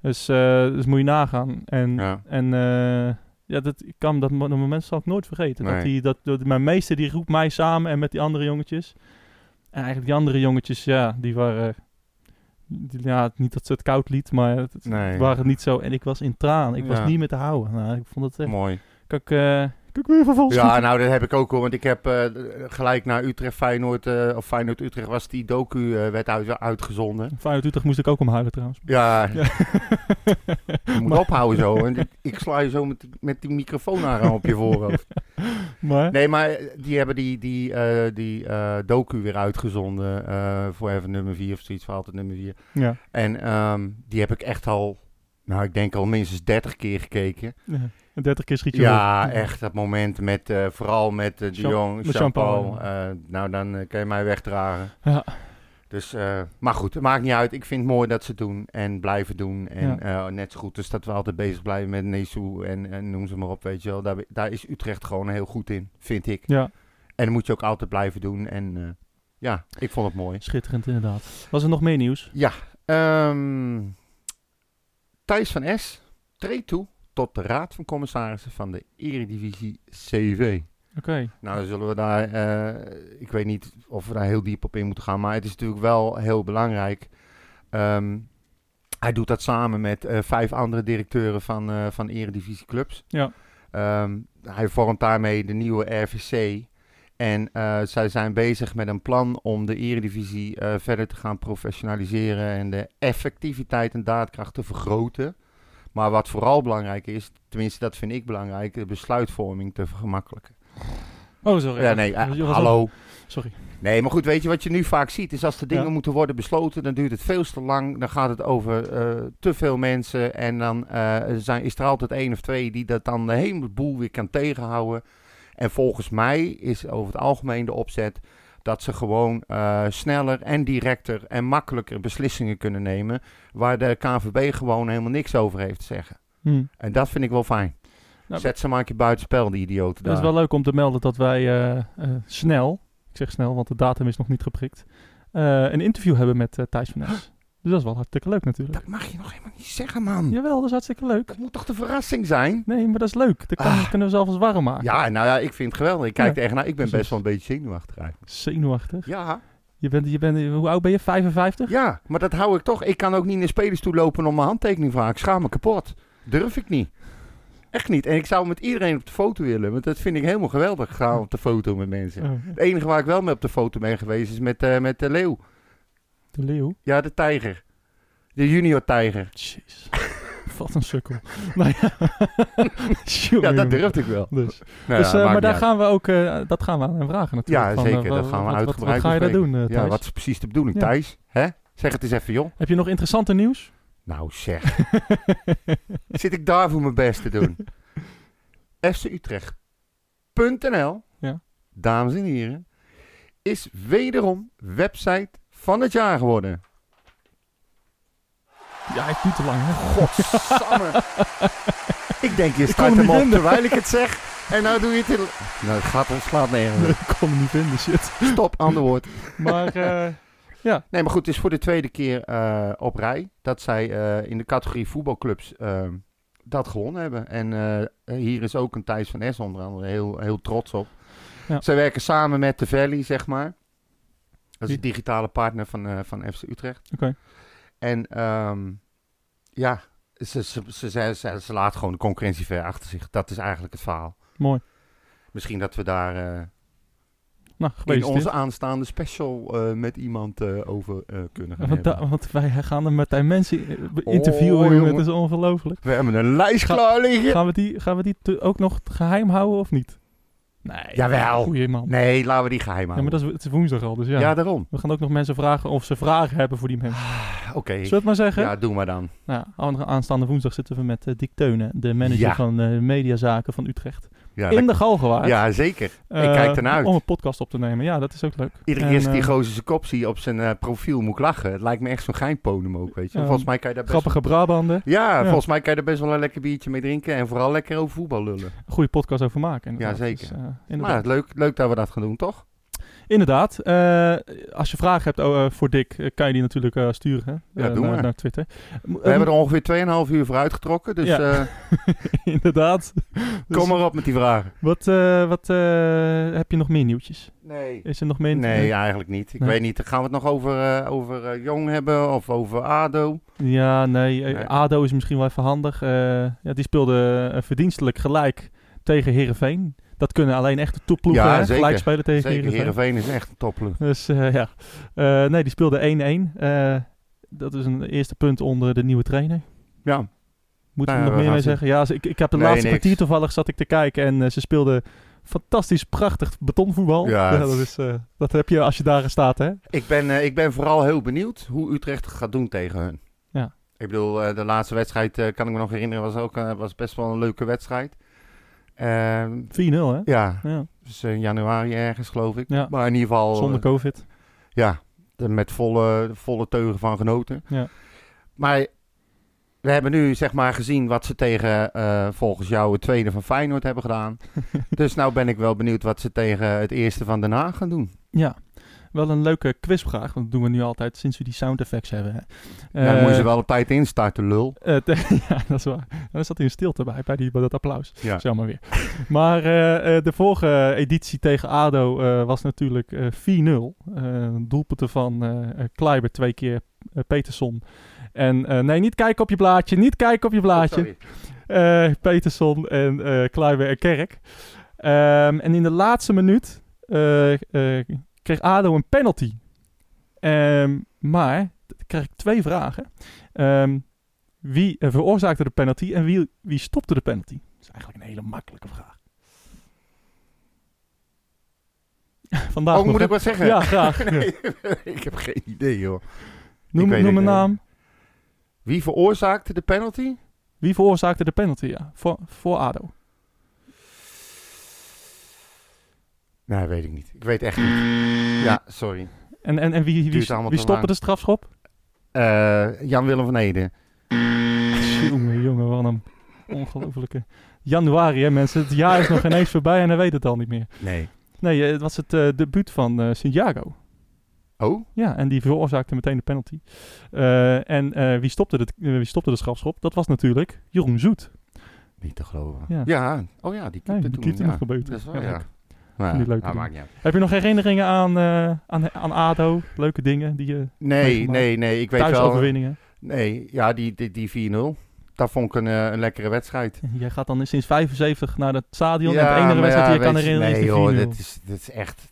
[SPEAKER 1] Dus, eh, dus moet je nagaan. En,
[SPEAKER 2] Ja.
[SPEAKER 1] en eh, ja, dat, ik kan dat, mo- dat moment zal ik nooit vergeten. Dat
[SPEAKER 2] Nee.
[SPEAKER 1] die, dat, dat mijn meester die roept mij samen en met die andere jongetjes. En eigenlijk die andere jongetjes, ja, die waren... die- ja, niet dat ze het koud liet, maar het, het
[SPEAKER 2] Nee.
[SPEAKER 1] waren niet zo... En ik was in traan. Ik
[SPEAKER 2] Ja.
[SPEAKER 1] was niet meer te houden. Nou, ik vond het echt...
[SPEAKER 2] Mooi.
[SPEAKER 1] Kan ik, eh, kan ik weer vervolgens
[SPEAKER 2] Ja, nou, dat heb ik ook hoor. Want ik heb eh, gelijk naar Utrecht, Feyenoord, eh, of Feyenoord Utrecht was die docu eh, werd uit- uitgezonden.
[SPEAKER 1] Feyenoord Utrecht moest ik ook om huilen trouwens.
[SPEAKER 2] Ja,
[SPEAKER 1] (laughs) Ja.
[SPEAKER 2] je moet
[SPEAKER 1] Maar-
[SPEAKER 2] ophouden zo. En ik, ik sla je zo met, die- met die microfoon aan op je voorhoofd.
[SPEAKER 1] (laughs) Maar,
[SPEAKER 2] Nee, maar eh, die hebben die, die, eh, die eh, docu weer uitgezonden eh, voor even nummer 4 of zoiets, voor altijd nummer 4.
[SPEAKER 1] ja.
[SPEAKER 2] En ehm, die heb ik echt al, nou ik denk al minstens 30 keer gekeken.
[SPEAKER 1] ja. En 30 keer schiet je
[SPEAKER 2] Ja,
[SPEAKER 1] weer.
[SPEAKER 2] echt dat moment met eh, vooral met eh, de
[SPEAKER 1] Jean-
[SPEAKER 2] jong
[SPEAKER 1] met
[SPEAKER 2] Jean-Paul.
[SPEAKER 1] Jean-Paul,
[SPEAKER 2] Eh, nou, dan eh, kan je mij wegdragen.
[SPEAKER 1] Ja.
[SPEAKER 2] Dus, eh, maar goed, het maakt niet uit. Ik vind het mooi dat ze het doen en blijven doen. En eh, net zo goed is dat we altijd bezig blijven met Nesu en, en noem ze maar op, weet je wel. Daar, daar is Utrecht gewoon heel goed in, vind ik.
[SPEAKER 1] Ja,
[SPEAKER 2] En dat moet je ook altijd blijven doen. En eh, ja, ik vond het mooi.
[SPEAKER 1] schitterend inderdaad. Was er nog meer nieuws?
[SPEAKER 2] Ja, ehm, Thijs van S treedt toe tot de Raad van Commissarissen van de Eredivisie CV.
[SPEAKER 1] Oké.
[SPEAKER 2] Nou, dan zullen we daar, eh, ik weet niet of we daar heel diep op in moeten gaan, maar het is natuurlijk wel heel belangrijk. Ehm, hij doet dat samen met eh, vijf andere directeuren van, eh van eredivisieclubs.
[SPEAKER 1] Ja.
[SPEAKER 2] Ehm, hij vormt daarmee de nieuwe RVC. En eh, zij zijn bezig met een plan om de eredivisie eh, verder te gaan professionaliseren en de effectiviteit en daadkracht te vergroten. Maar wat vooral belangrijk is, tenminste dat vind ik belangrijk, de besluitvorming te vergemakkelijken.
[SPEAKER 1] Oh, sorry.
[SPEAKER 2] Ja, nee,
[SPEAKER 1] Je
[SPEAKER 2] eh,
[SPEAKER 1] was
[SPEAKER 2] hallo.
[SPEAKER 1] al- Sorry.
[SPEAKER 2] Nee, maar goed, weet je wat je nu vaak ziet? Is als de dingen
[SPEAKER 1] Ja.
[SPEAKER 2] moeten worden besloten, dan duurt het veel te lang. Dan gaat het over eh, te veel mensen. En dan eh, zijn, is er altijd één of twee die dat dan de hele boel weer kan tegenhouden. En volgens mij is over het algemeen de opzet dat ze gewoon eh, sneller en directer en makkelijker beslissingen kunnen nemen. Waar de KNVB gewoon helemaal niks over heeft te zeggen.
[SPEAKER 1] Hm.
[SPEAKER 2] En dat vind ik wel fijn.
[SPEAKER 1] Nou,
[SPEAKER 2] Zet ze maar een keer buitenspel, die idioten
[SPEAKER 1] Het
[SPEAKER 2] daar.
[SPEAKER 1] is wel leuk om te melden dat wij eh, eh, snel, ik zeg snel, want de datum is nog niet geprikt, eh, een interview hebben met eh, Thijs van Es. Dus dat is wel hartstikke leuk natuurlijk.
[SPEAKER 2] Dat mag je nog helemaal niet zeggen, man.
[SPEAKER 1] Jawel, dat is hartstikke leuk.
[SPEAKER 2] Dat moet toch de verrassing zijn?
[SPEAKER 1] Nee, maar dat is leuk. Dat kan- kunnen we zelf eens warm maken.
[SPEAKER 2] Ah. Ja, nou ja, ik vind het geweldig. Ik kijk
[SPEAKER 1] Ah. Ja,
[SPEAKER 2] er echt naar. Ik ben
[SPEAKER 1] precies.
[SPEAKER 2] best wel een beetje zenuwachtig eigenlijk.
[SPEAKER 1] Zenuwachtig.
[SPEAKER 2] Ja.
[SPEAKER 1] Je bent, je bent, hoe oud ben je? 55?
[SPEAKER 2] Ja, maar dat hou ik toch. Ik kan ook niet naar spelers toe lopen om mijn handtekening te vragen. Ik schaam me kapot. Durf ik niet. Echt niet. En ik zou met iedereen op de foto willen. Want dat vind ik helemaal geweldig. Gaan op de foto met mensen.
[SPEAKER 1] Oh.
[SPEAKER 2] Het enige waar ik wel mee op de foto ben geweest is met, eh, met de leeuw.
[SPEAKER 1] De leeuw.
[SPEAKER 2] Ja, de tijger. De junior tijger.
[SPEAKER 1] Jeez. (laughs) Wat een sukkel. (laughs) Nou ja. Jongen,
[SPEAKER 2] Ja, dat
[SPEAKER 1] jongen.
[SPEAKER 2] durfde ik wel.
[SPEAKER 1] Dus,
[SPEAKER 2] Nou
[SPEAKER 1] dus,
[SPEAKER 2] ja,
[SPEAKER 1] eh, maar
[SPEAKER 2] maakt
[SPEAKER 1] daar
[SPEAKER 2] niet uit.
[SPEAKER 1] gaan we ook eh, dat gaan we aan hem vragen natuurlijk.
[SPEAKER 2] Ja,
[SPEAKER 1] Van, eh,
[SPEAKER 2] zeker.
[SPEAKER 1] wa-
[SPEAKER 2] dat gaan we
[SPEAKER 1] wat- wat-
[SPEAKER 2] uitgebreid
[SPEAKER 1] Wat, ga je daar doen, eh,
[SPEAKER 2] bespreken.
[SPEAKER 1] Thijs?
[SPEAKER 2] Ja, wat is precies de bedoeling,
[SPEAKER 1] Ja.
[SPEAKER 2] Thijs? Hè? Zeg het eens even, joh.
[SPEAKER 1] Heb je nog interessanter nieuws?
[SPEAKER 2] Nou zeg. (laughs) Zit ik daar voor mijn best te
[SPEAKER 1] (laughs)
[SPEAKER 2] doen? FCUtrecht.nl,
[SPEAKER 1] Ja.
[SPEAKER 2] dames en heren, is wederom website van het jaar geworden.
[SPEAKER 1] Ja, hij duurt te lang, hè? (laughs)
[SPEAKER 2] Godsamme. ik denk, je
[SPEAKER 1] Ik kon
[SPEAKER 2] start
[SPEAKER 1] hem
[SPEAKER 2] hem
[SPEAKER 1] niet
[SPEAKER 2] op
[SPEAKER 1] vinden.
[SPEAKER 2] terwijl ik het zeg. En nou doe je het... in- Nou, het gaat ons slaat
[SPEAKER 1] (laughs)
[SPEAKER 2] nergens. op.
[SPEAKER 1] (laughs) Ik kon hem niet vinden, shit.
[SPEAKER 2] Stop, ander woord.
[SPEAKER 1] Maar eh, ja,
[SPEAKER 2] Nee, maar goed, het is voor de tweede keer eh, op rij dat zij eh, in de categorie voetbalclubs eh, dat gewonnen hebben. En eh, hier is ook een Thijs van Es onder andere heel, heel trots op.
[SPEAKER 1] Ja.
[SPEAKER 2] Zij werken samen met de Valley, zeg maar. Dat is
[SPEAKER 1] Die-
[SPEAKER 2] de digitale partner van, eh, van FC Utrecht.
[SPEAKER 1] Oké.
[SPEAKER 2] En ehm, ja, ze, ze, ze, ze, ze, ze laat gewoon de concurrentie ver achter zich. Dat is eigenlijk het verhaal.
[SPEAKER 1] (laughs) mooi.
[SPEAKER 2] Misschien dat we daar eh,
[SPEAKER 1] Nou,
[SPEAKER 2] in
[SPEAKER 1] geweest.
[SPEAKER 2] onze aanstaande special eh, met iemand eh, over eh, kunnen gaan
[SPEAKER 1] want,
[SPEAKER 2] hebben.
[SPEAKER 1] da- want wij gaan er meteen mensen eh, interviewen,
[SPEAKER 2] Oh,
[SPEAKER 1] jongen.
[SPEAKER 2] jongen.
[SPEAKER 1] Het is ongelooflijk.
[SPEAKER 2] We hebben een lijst
[SPEAKER 1] Ga-
[SPEAKER 2] klaar liggen.
[SPEAKER 1] Gaan we die, gaan we die te- ook nog geheim houden of niet? Nee.
[SPEAKER 2] Jawel.
[SPEAKER 1] Goeie man.
[SPEAKER 2] Nee, laten we die geheim
[SPEAKER 1] Ja,
[SPEAKER 2] houden.
[SPEAKER 1] maar dat is, het is woensdag al, dus ja.
[SPEAKER 2] ja. daarom. Ah,
[SPEAKER 1] We gaan ook nog mensen vragen of ze vragen hebben voor die mensen. Zullen
[SPEAKER 2] Oké.
[SPEAKER 1] we het maar zeggen?
[SPEAKER 2] Ja, doe maar dan.
[SPEAKER 1] Nou, andere- aanstaande woensdag zitten we met eh, Dick Teunen, de manager
[SPEAKER 2] Ja.
[SPEAKER 1] van eh, Mediazaken van Utrecht.
[SPEAKER 2] Ja,
[SPEAKER 1] in
[SPEAKER 2] dat-
[SPEAKER 1] de Galgenwaard.
[SPEAKER 2] ja zeker.
[SPEAKER 1] Eh,
[SPEAKER 2] kijk ernaar uit.
[SPEAKER 1] Om een podcast op te nemen. Ja, dat is ook leuk. En,
[SPEAKER 2] Iedere keer als ik die
[SPEAKER 1] eh,
[SPEAKER 2] gozer zijn kop zie op zijn eh, profiel moet ik lachen. Het lijkt me echt zo'n geinponem ook, weet je.
[SPEAKER 1] Ja,
[SPEAKER 2] volgens mij kan je daar best
[SPEAKER 1] Grappige Brabander.
[SPEAKER 2] wel... ja,
[SPEAKER 1] Ja.
[SPEAKER 2] volgens mij kan je daar best wel een lekker biertje mee drinken. En vooral lekker over voetbal lullen.
[SPEAKER 1] Goede podcast over maken. inderdaad.
[SPEAKER 2] Ja, zeker.
[SPEAKER 1] Dus, eh,
[SPEAKER 2] Maar
[SPEAKER 1] inderdaad.
[SPEAKER 2] het leuk, leuk dat we dat gaan doen, toch?
[SPEAKER 1] Inderdaad. eh, als je vragen hebt oh, eh, voor Dick, eh, kan je die natuurlijk eh, sturen. Hè?
[SPEAKER 2] Ja,
[SPEAKER 1] Eh,
[SPEAKER 2] doe
[SPEAKER 1] naar,
[SPEAKER 2] maar.
[SPEAKER 1] naar Twitter. Mo-
[SPEAKER 2] We hebben er ongeveer 2,5 uur voor uitgetrokken. Dus
[SPEAKER 1] Eh, Ja.
[SPEAKER 2] eh,
[SPEAKER 1] (laughs) Inderdaad. (laughs) Dus
[SPEAKER 2] kom maar op met die vragen.
[SPEAKER 1] Wat, eh, wat eh, heb je nog meer nieuwtjes?
[SPEAKER 2] Nee.
[SPEAKER 1] Is er nog meer?
[SPEAKER 2] Nee, eigenlijk niet. Ik
[SPEAKER 1] Nee.
[SPEAKER 2] weet niet. Gaan we het nog over, eh, over eh, Jong hebben of over ADO?
[SPEAKER 1] Ja, nee. eh,
[SPEAKER 2] Nee.
[SPEAKER 1] ADO is misschien wel even handig. Eh, ja, die speelde eh, verdienstelijk gelijk tegen Herenveen. Dat kunnen alleen echte topploegen
[SPEAKER 2] Ja,
[SPEAKER 1] hè,
[SPEAKER 2] zeker.
[SPEAKER 1] gelijk spelen tegen
[SPEAKER 2] Zeker,
[SPEAKER 1] Herenveen.
[SPEAKER 2] Heerenveen is echt een topploeg.
[SPEAKER 1] Dus eh, ja. Eh, nee, die speelde 1-1. Eh, dat is een eerste punt onder de nieuwe trainer.
[SPEAKER 2] Ja,
[SPEAKER 1] Moeten we
[SPEAKER 2] Nou,
[SPEAKER 1] nog
[SPEAKER 2] we
[SPEAKER 1] meer mee
[SPEAKER 2] gaan
[SPEAKER 1] zeggen? Ja, ze- ik, ik heb de
[SPEAKER 2] Nee,
[SPEAKER 1] laatste
[SPEAKER 2] niks.
[SPEAKER 1] kwartier toevallig zat ik te kijken en eh, ze speelden fantastisch prachtig betonvoetbal. (laughs)
[SPEAKER 2] Ja, het-
[SPEAKER 1] dat, is, eh, dat heb je als je daar staat, hè?
[SPEAKER 2] ik ben, eh, ik ben vooral heel benieuwd hoe Utrecht het gaat doen tegen hun.
[SPEAKER 1] Ja.
[SPEAKER 2] Ik bedoel, eh, de laatste wedstrijd eh, kan ik me nog herinneren, was, ook, eh, was best wel een leuke wedstrijd. Ehm,
[SPEAKER 1] 4-0, hè?
[SPEAKER 2] ja,
[SPEAKER 1] Ja,
[SPEAKER 2] dus in januari ergens geloof ik.
[SPEAKER 1] Ja.
[SPEAKER 2] Maar in ieder geval, eh,
[SPEAKER 1] zonder COVID.
[SPEAKER 2] ja, de- met volle, volle teugen van genoten.
[SPEAKER 1] Ja.
[SPEAKER 2] Maar we hebben nu zeg maar gezien wat ze tegen eh, volgens jou het tweede van Feyenoord hebben
[SPEAKER 1] (laughs)
[SPEAKER 2] gedaan. dus nou ben ik wel benieuwd wat ze tegen het eerste van Den Haag gaan doen.
[SPEAKER 1] Ja, wel een leuke quizvraag. Want dat doen we nu altijd sinds we die sound effects hebben. Hè.
[SPEAKER 2] ja, dan moet je
[SPEAKER 1] Eh,
[SPEAKER 2] ze wel op tijd instarten, lul.
[SPEAKER 1] eh, te- (laughs) ja, dat is waar. En Daar zat hij een stilte bij, bij, die, bij dat applaus.
[SPEAKER 2] Ja.
[SPEAKER 1] Zeg maar weer. (laughs) maar eh, eh, de vorige editie tegen ADO eh, was natuurlijk eh, 4-0. Eh, doelpunten van eh, eh, Kleiber twee keer, eh, Peterson. En eh, nee, niet kijken op je blaadje, niet kijken op je blaadje.
[SPEAKER 2] Oh, Sorry.
[SPEAKER 1] eh Peterson en eh Kluiber en Kerk. Ehm, en in de laatste minuut eh, eh, kreeg ADO een penalty. Ehm, maar, dan krijg ik twee vragen. Ehm, wie eh, veroorzaakte de penalty en wie, wie stopte de penalty? Dat is eigenlijk een hele makkelijke vraag. (laughs) Vandaag
[SPEAKER 2] Oh,
[SPEAKER 1] nog,
[SPEAKER 2] moet
[SPEAKER 1] hè?
[SPEAKER 2] ik wat zeggen?
[SPEAKER 1] Ja,
[SPEAKER 2] (laughs)
[SPEAKER 1] graag.
[SPEAKER 2] Nee, ik heb geen idee, joh.
[SPEAKER 1] Noem,
[SPEAKER 2] Ik weet
[SPEAKER 1] noem
[SPEAKER 2] het
[SPEAKER 1] een
[SPEAKER 2] niet.
[SPEAKER 1] naam.
[SPEAKER 2] Wie veroorzaakte de penalty?
[SPEAKER 1] Wie veroorzaakte de penalty, ja. Voor, voor ADO.
[SPEAKER 2] Nee, Nou, weet ik niet. Ik weet echt niet. Ja, sorry.
[SPEAKER 1] En, en, en wie,
[SPEAKER 2] Duurt
[SPEAKER 1] wie,
[SPEAKER 2] allemaal
[SPEAKER 1] wie
[SPEAKER 2] te
[SPEAKER 1] stopte
[SPEAKER 2] lang.
[SPEAKER 1] de strafschop?
[SPEAKER 2] Eh, Jan-Willem van Ede.
[SPEAKER 1] (laughs) Jongen, jongen, wat een ongelofelijke... Januari, hè mensen. Het jaar is nog ineens voorbij en hij weet het al niet meer.
[SPEAKER 2] Nee.
[SPEAKER 1] Nee, eh, het was het eh, debuut van eh Santiago.
[SPEAKER 2] Oh?
[SPEAKER 1] Ja, en die veroorzaakte meteen de penalty. Eh, en eh, wie, stopte de, eh, wie stopte de strafschop? Dat was natuurlijk Jeroen Zoet.
[SPEAKER 2] Niet te geloven.
[SPEAKER 1] Ja.
[SPEAKER 2] Ja. Oh ja, die
[SPEAKER 1] Nee,
[SPEAKER 2] keepte
[SPEAKER 1] die
[SPEAKER 2] toen.
[SPEAKER 1] keepte
[SPEAKER 2] ja.
[SPEAKER 1] nog gebeurd.
[SPEAKER 2] Dat is wel,
[SPEAKER 1] Ja,
[SPEAKER 2] ja.
[SPEAKER 1] leuk.
[SPEAKER 2] Nou ja,
[SPEAKER 1] Niet leuk te
[SPEAKER 2] dat
[SPEAKER 1] doen.
[SPEAKER 2] maakt niet uit.
[SPEAKER 1] Heb je nog herinneringen aan, eh, aan, aan ADO? Leuke dingen die je...
[SPEAKER 2] Nee,
[SPEAKER 1] meegemaakt?
[SPEAKER 2] nee, nee. Ik weet wel.
[SPEAKER 1] Thuisoverwinningen.
[SPEAKER 2] Nee, ja, die, die, die 4-0. Dat vond ik een, eh, een lekkere wedstrijd.
[SPEAKER 1] Jij gaat dan sinds 75 naar het stadion en
[SPEAKER 2] maar
[SPEAKER 1] de enige wedstrijd die je
[SPEAKER 2] weet
[SPEAKER 1] kan herinneren
[SPEAKER 2] nee,
[SPEAKER 1] is
[SPEAKER 2] joh,
[SPEAKER 1] de 4-0.
[SPEAKER 2] dit is, dit is echt...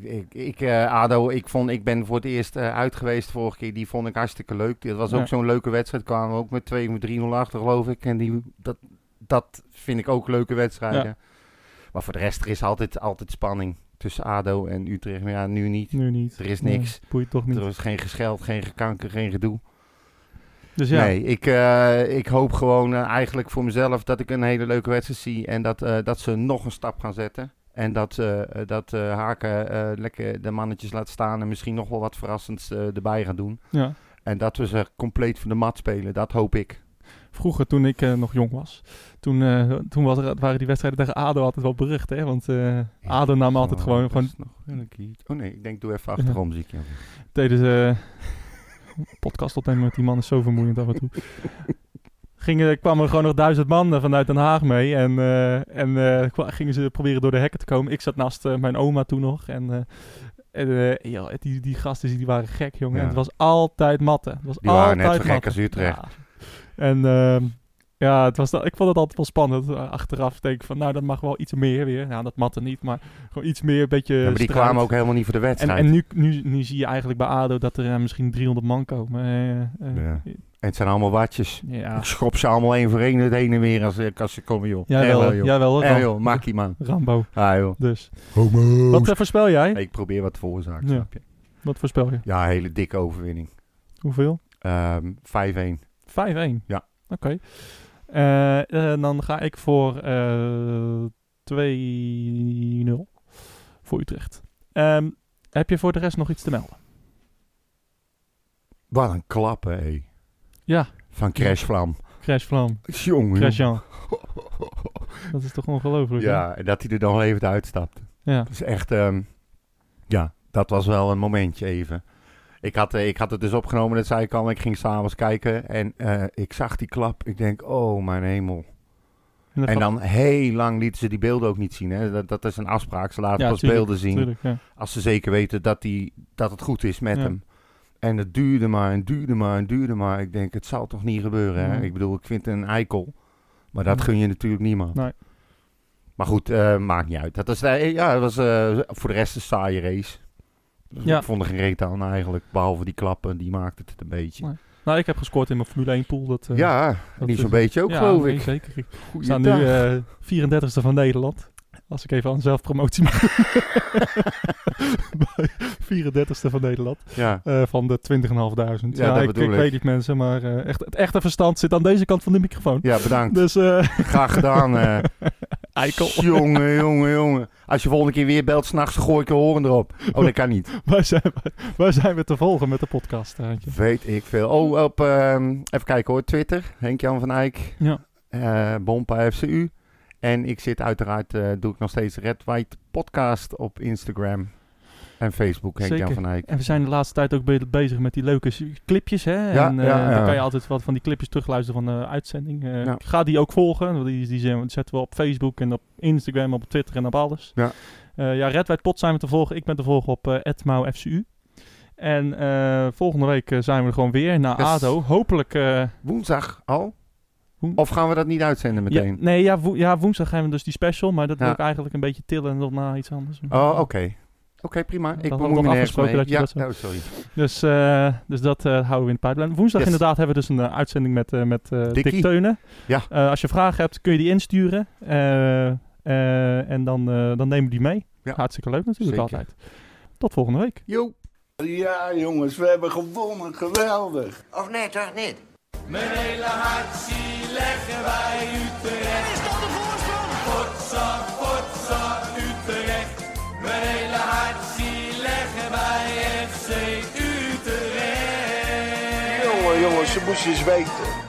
[SPEAKER 2] Ik, ik, eh, ADO, ik, vond, ik ben voor het eerst eh, uit geweest vorige keer. Die vond ik hartstikke leuk. Dat was ook
[SPEAKER 1] Ja.
[SPEAKER 2] zo'n leuke wedstrijd. Kwamen we ook met 2 met 3-0 achter, geloof ik. En die, dat, dat vind ik ook leuke wedstrijden.
[SPEAKER 1] Ja.
[SPEAKER 2] Maar voor de rest, er is altijd, altijd spanning tussen ADO en Utrecht. Maar ja, nu niet.
[SPEAKER 1] Nu niet.
[SPEAKER 2] Er is
[SPEAKER 1] Nee,
[SPEAKER 2] niks.
[SPEAKER 1] boeit toch niet.
[SPEAKER 2] Er is geen gescheld, geen gekanker, geen gedoe.
[SPEAKER 1] Dus ja,
[SPEAKER 2] Nee, ik, eh, ik hoop gewoon eh, eigenlijk voor mezelf dat ik een hele leuke wedstrijd zie. En dat, eh, dat ze nog een stap gaan zetten. En dat, eh, eh, dat eh, Haken eh, lekker de mannetjes laat staan. En misschien nog wel wat verrassends eh, erbij gaan doen.
[SPEAKER 1] Ja.
[SPEAKER 2] En dat we ze compleet van de mat spelen. Dat hoop ik.
[SPEAKER 1] vroeger toen ik eh, nog jong was, toen, eh, toen was er, waren die wedstrijden tegen ADO altijd wel berucht. Hè? Want eh, ADO nam altijd gewoon, gewoon
[SPEAKER 2] Oh nee, ik denk doe even achterom zie ik jou.
[SPEAKER 1] deden ze eh, podcast opnemen met die man is zo vermoeiend af en toe. Gingen, kwamen er gewoon nog duizend man eh, vanuit Den Haag mee. En, eh, en eh, kwa- gingen ze proberen door de hekken te komen. Ik zat naast eh, mijn oma toen nog. En, eh, en eh, ja, die, die gasten die waren gek, jongen.
[SPEAKER 2] Ja.
[SPEAKER 1] En het was altijd matten. Het was
[SPEAKER 2] Die waren net
[SPEAKER 1] altijd
[SPEAKER 2] zo gek
[SPEAKER 1] matten.
[SPEAKER 2] als Utrecht.
[SPEAKER 1] Ja. En ehm, ja, het was, da- ik vond het altijd wel spannend. Eh, Achteraf denk ik van, nou, dat mag wel iets meer weer. Nou, dat matten niet, maar gewoon iets meer, een beetje
[SPEAKER 2] Ja, maar die
[SPEAKER 1] strijd.
[SPEAKER 2] kwamen ook helemaal niet voor de
[SPEAKER 1] En,
[SPEAKER 2] wedstrijd.
[SPEAKER 1] en nu, nu, nu zie je eigenlijk bij ADO dat er eh, misschien 300 man komen. Eh, eh,
[SPEAKER 2] Ja. En het zijn allemaal watjes.
[SPEAKER 1] Ja.
[SPEAKER 2] Ik schop ze allemaal één voor één het heen en weer als, eh, als ze komen, joh.
[SPEAKER 1] Jij
[SPEAKER 2] Eh,
[SPEAKER 1] wel,
[SPEAKER 2] joh.
[SPEAKER 1] jij wel, hoor,
[SPEAKER 2] Eh,
[SPEAKER 1] Ram.
[SPEAKER 2] joh, maak die man.
[SPEAKER 1] Rambo.
[SPEAKER 2] Ah, joh.
[SPEAKER 1] Dus. Wat eh, voorspel (laughs) jij?
[SPEAKER 2] Ik probeer wat te veroorzaken,
[SPEAKER 1] Ja.
[SPEAKER 2] snap je?
[SPEAKER 1] Wat voorspel je?
[SPEAKER 2] Ja, een hele dikke overwinning.
[SPEAKER 1] Hoeveel?
[SPEAKER 2] Ehm 5-1.
[SPEAKER 1] 5-1.
[SPEAKER 2] Ja.
[SPEAKER 1] Oké. Eh, eh, dan ga ik voor eh 2-0 voor Utrecht. Ehm, heb je voor de rest nog iets te melden?
[SPEAKER 2] Wat een klap, hè. hé.
[SPEAKER 1] Ja.
[SPEAKER 2] Van Crash Vlam.
[SPEAKER 1] Crash Vlam.
[SPEAKER 2] Jongen.
[SPEAKER 1] Crash Jan. Dat is toch ongelooflijk? hè?
[SPEAKER 2] (laughs) Ja, en dat hij er dan wel even uitstapt.
[SPEAKER 1] Ja.
[SPEAKER 2] Dat is echt... ehm, ja, dat was wel een momentje even. Ik had, eh, ik had het dus opgenomen, dat zei ik al. Ik ging s'avonds kijken en eh, ik zag die klap. Ik denk, oh mijn hemel.
[SPEAKER 1] En dat gaat-
[SPEAKER 2] En dan heel lang lieten ze die beelden ook niet zien. Hè? Dat, dat is een afspraak. Ze laten
[SPEAKER 1] Ja,
[SPEAKER 2] pas
[SPEAKER 1] tuurlijk,
[SPEAKER 2] beelden zien.
[SPEAKER 1] tuurlijk, ja.
[SPEAKER 2] Als ze zeker weten dat, die, dat het goed is met
[SPEAKER 1] Ja.
[SPEAKER 2] hem. En het duurde maar en duurde maar en duurde maar. Ik denk, het zal toch niet gebeuren. Hè?
[SPEAKER 1] Nee.
[SPEAKER 2] Ik bedoel, ik vind het een eikel. Maar dat
[SPEAKER 1] Nee.
[SPEAKER 2] gun je natuurlijk niemand.
[SPEAKER 1] Mhm. Nee.
[SPEAKER 2] Maar goed, eh, maakt niet uit. Dat was, eh, ja, dat was eh, voor de rest een saaie race. Dus
[SPEAKER 1] Ja.
[SPEAKER 2] Ik vond er geen reet aan eigenlijk. Behalve die klappen, die maakte het een beetje.
[SPEAKER 1] Nee. Nou, ik heb gescoord in mijn Formule 1 pool. Dat, eh,
[SPEAKER 2] ja,
[SPEAKER 1] dat
[SPEAKER 2] niet
[SPEAKER 1] is-
[SPEAKER 2] zo'n beetje ook
[SPEAKER 1] Ja,
[SPEAKER 2] geloof
[SPEAKER 1] nee,
[SPEAKER 2] ik.
[SPEAKER 1] zeker. Ik We
[SPEAKER 2] Goeiedag.
[SPEAKER 1] staan nu eh 34ste van Nederland. Als ik even aan zelfpromotie mag doen. (laughs) Bij 34ste van Nederland.
[SPEAKER 2] ja.
[SPEAKER 1] eh, van de 20.500.
[SPEAKER 2] Ja, dat
[SPEAKER 1] ik,
[SPEAKER 2] bedoel
[SPEAKER 1] ik
[SPEAKER 2] ik.
[SPEAKER 1] weet niet mensen, maar eh, echt, het echte verstand zit aan deze kant van de microfoon.
[SPEAKER 2] ja, bedankt.
[SPEAKER 1] Dus eh (laughs)
[SPEAKER 2] Graag gedaan. eh.
[SPEAKER 1] eikel,
[SPEAKER 2] Jongen, jongen, jongen. Als je volgende keer weer belt, s'nachts gooi ik een horen erop. Oh, dat kan
[SPEAKER 1] (laughs)
[SPEAKER 2] niet.
[SPEAKER 1] waar zijn, we, waar zijn we te volgen met de podcast? Haantje?
[SPEAKER 2] Weet ik veel. Oh, op, ehm, even kijken hoor. Twitter, Henk-Jan van Eyck.
[SPEAKER 1] Ja.
[SPEAKER 2] Eh, Bompa FCU. En ik zit uiteraard, eh, doe ik nog steeds Red White Podcast op Instagram. En Facebook, Henk-Jan
[SPEAKER 1] Zeker.
[SPEAKER 2] van Eyck.
[SPEAKER 1] En we zijn de laatste tijd ook be- bezig met die leuke s- clipjes. Hè?
[SPEAKER 2] Ja,
[SPEAKER 1] en eh
[SPEAKER 2] ja, ja.
[SPEAKER 1] dan kan je altijd wat van die clipjes terugluisteren van de uitzending. Eh,
[SPEAKER 2] Ja.
[SPEAKER 1] Ga die ook volgen. want Die, die zijn- zetten we op Facebook en op Instagram, op Twitter en op alles.
[SPEAKER 2] Ja.
[SPEAKER 1] Eh, ja, Red White Pot zijn we te volgen. Ik ben te volgen op eh @mauFCU. En eh, volgende week eh, zijn we er gewoon weer naar
[SPEAKER 2] Yes.
[SPEAKER 1] ADO. Hopelijk eh,
[SPEAKER 2] Woensdag al? Of gaan we dat niet uitzenden meteen?
[SPEAKER 1] Ja, nee, ja, wo- ja, woensdag gaan we dus die special, maar dat wil
[SPEAKER 2] Ja.
[SPEAKER 1] ik eigenlijk een beetje tillen en nog naar iets anders.
[SPEAKER 2] Oh, oké. Oké, prima.
[SPEAKER 1] hadden
[SPEAKER 2] Ik
[SPEAKER 1] we
[SPEAKER 2] bemoei me
[SPEAKER 1] nog
[SPEAKER 2] nergens
[SPEAKER 1] afgesproken
[SPEAKER 2] mee.
[SPEAKER 1] dat je
[SPEAKER 2] ja,
[SPEAKER 1] dat zou-
[SPEAKER 2] oh, sorry.
[SPEAKER 1] Dus, eh, dus dat eh, houden we in de pipeline. Woensdag
[SPEAKER 2] Yes.
[SPEAKER 1] inderdaad hebben we dus een eh, uitzending met, eh, met eh, Dick
[SPEAKER 2] Dikkie.
[SPEAKER 1] Teunen.
[SPEAKER 2] Ja.
[SPEAKER 1] Eh, als je vragen hebt, kun je die insturen. Eh, eh, en dan, eh, dan nemen we die mee.
[SPEAKER 2] Ja.
[SPEAKER 1] Hartstikke leuk natuurlijk
[SPEAKER 2] Zeker.
[SPEAKER 1] altijd. Tot volgende week.
[SPEAKER 2] Jo.
[SPEAKER 6] Ja, jongens, we hebben gewonnen. Geweldig.
[SPEAKER 3] Of nee, toch niet? Mijn hele hart zie leggen wij Utrecht. Is dat de voorsprong? Potsa, potsa, Utrecht. Mijn hele hart zie leggen wij FC Utrecht.
[SPEAKER 4] Jongen, jongens, ze moest je eens weten.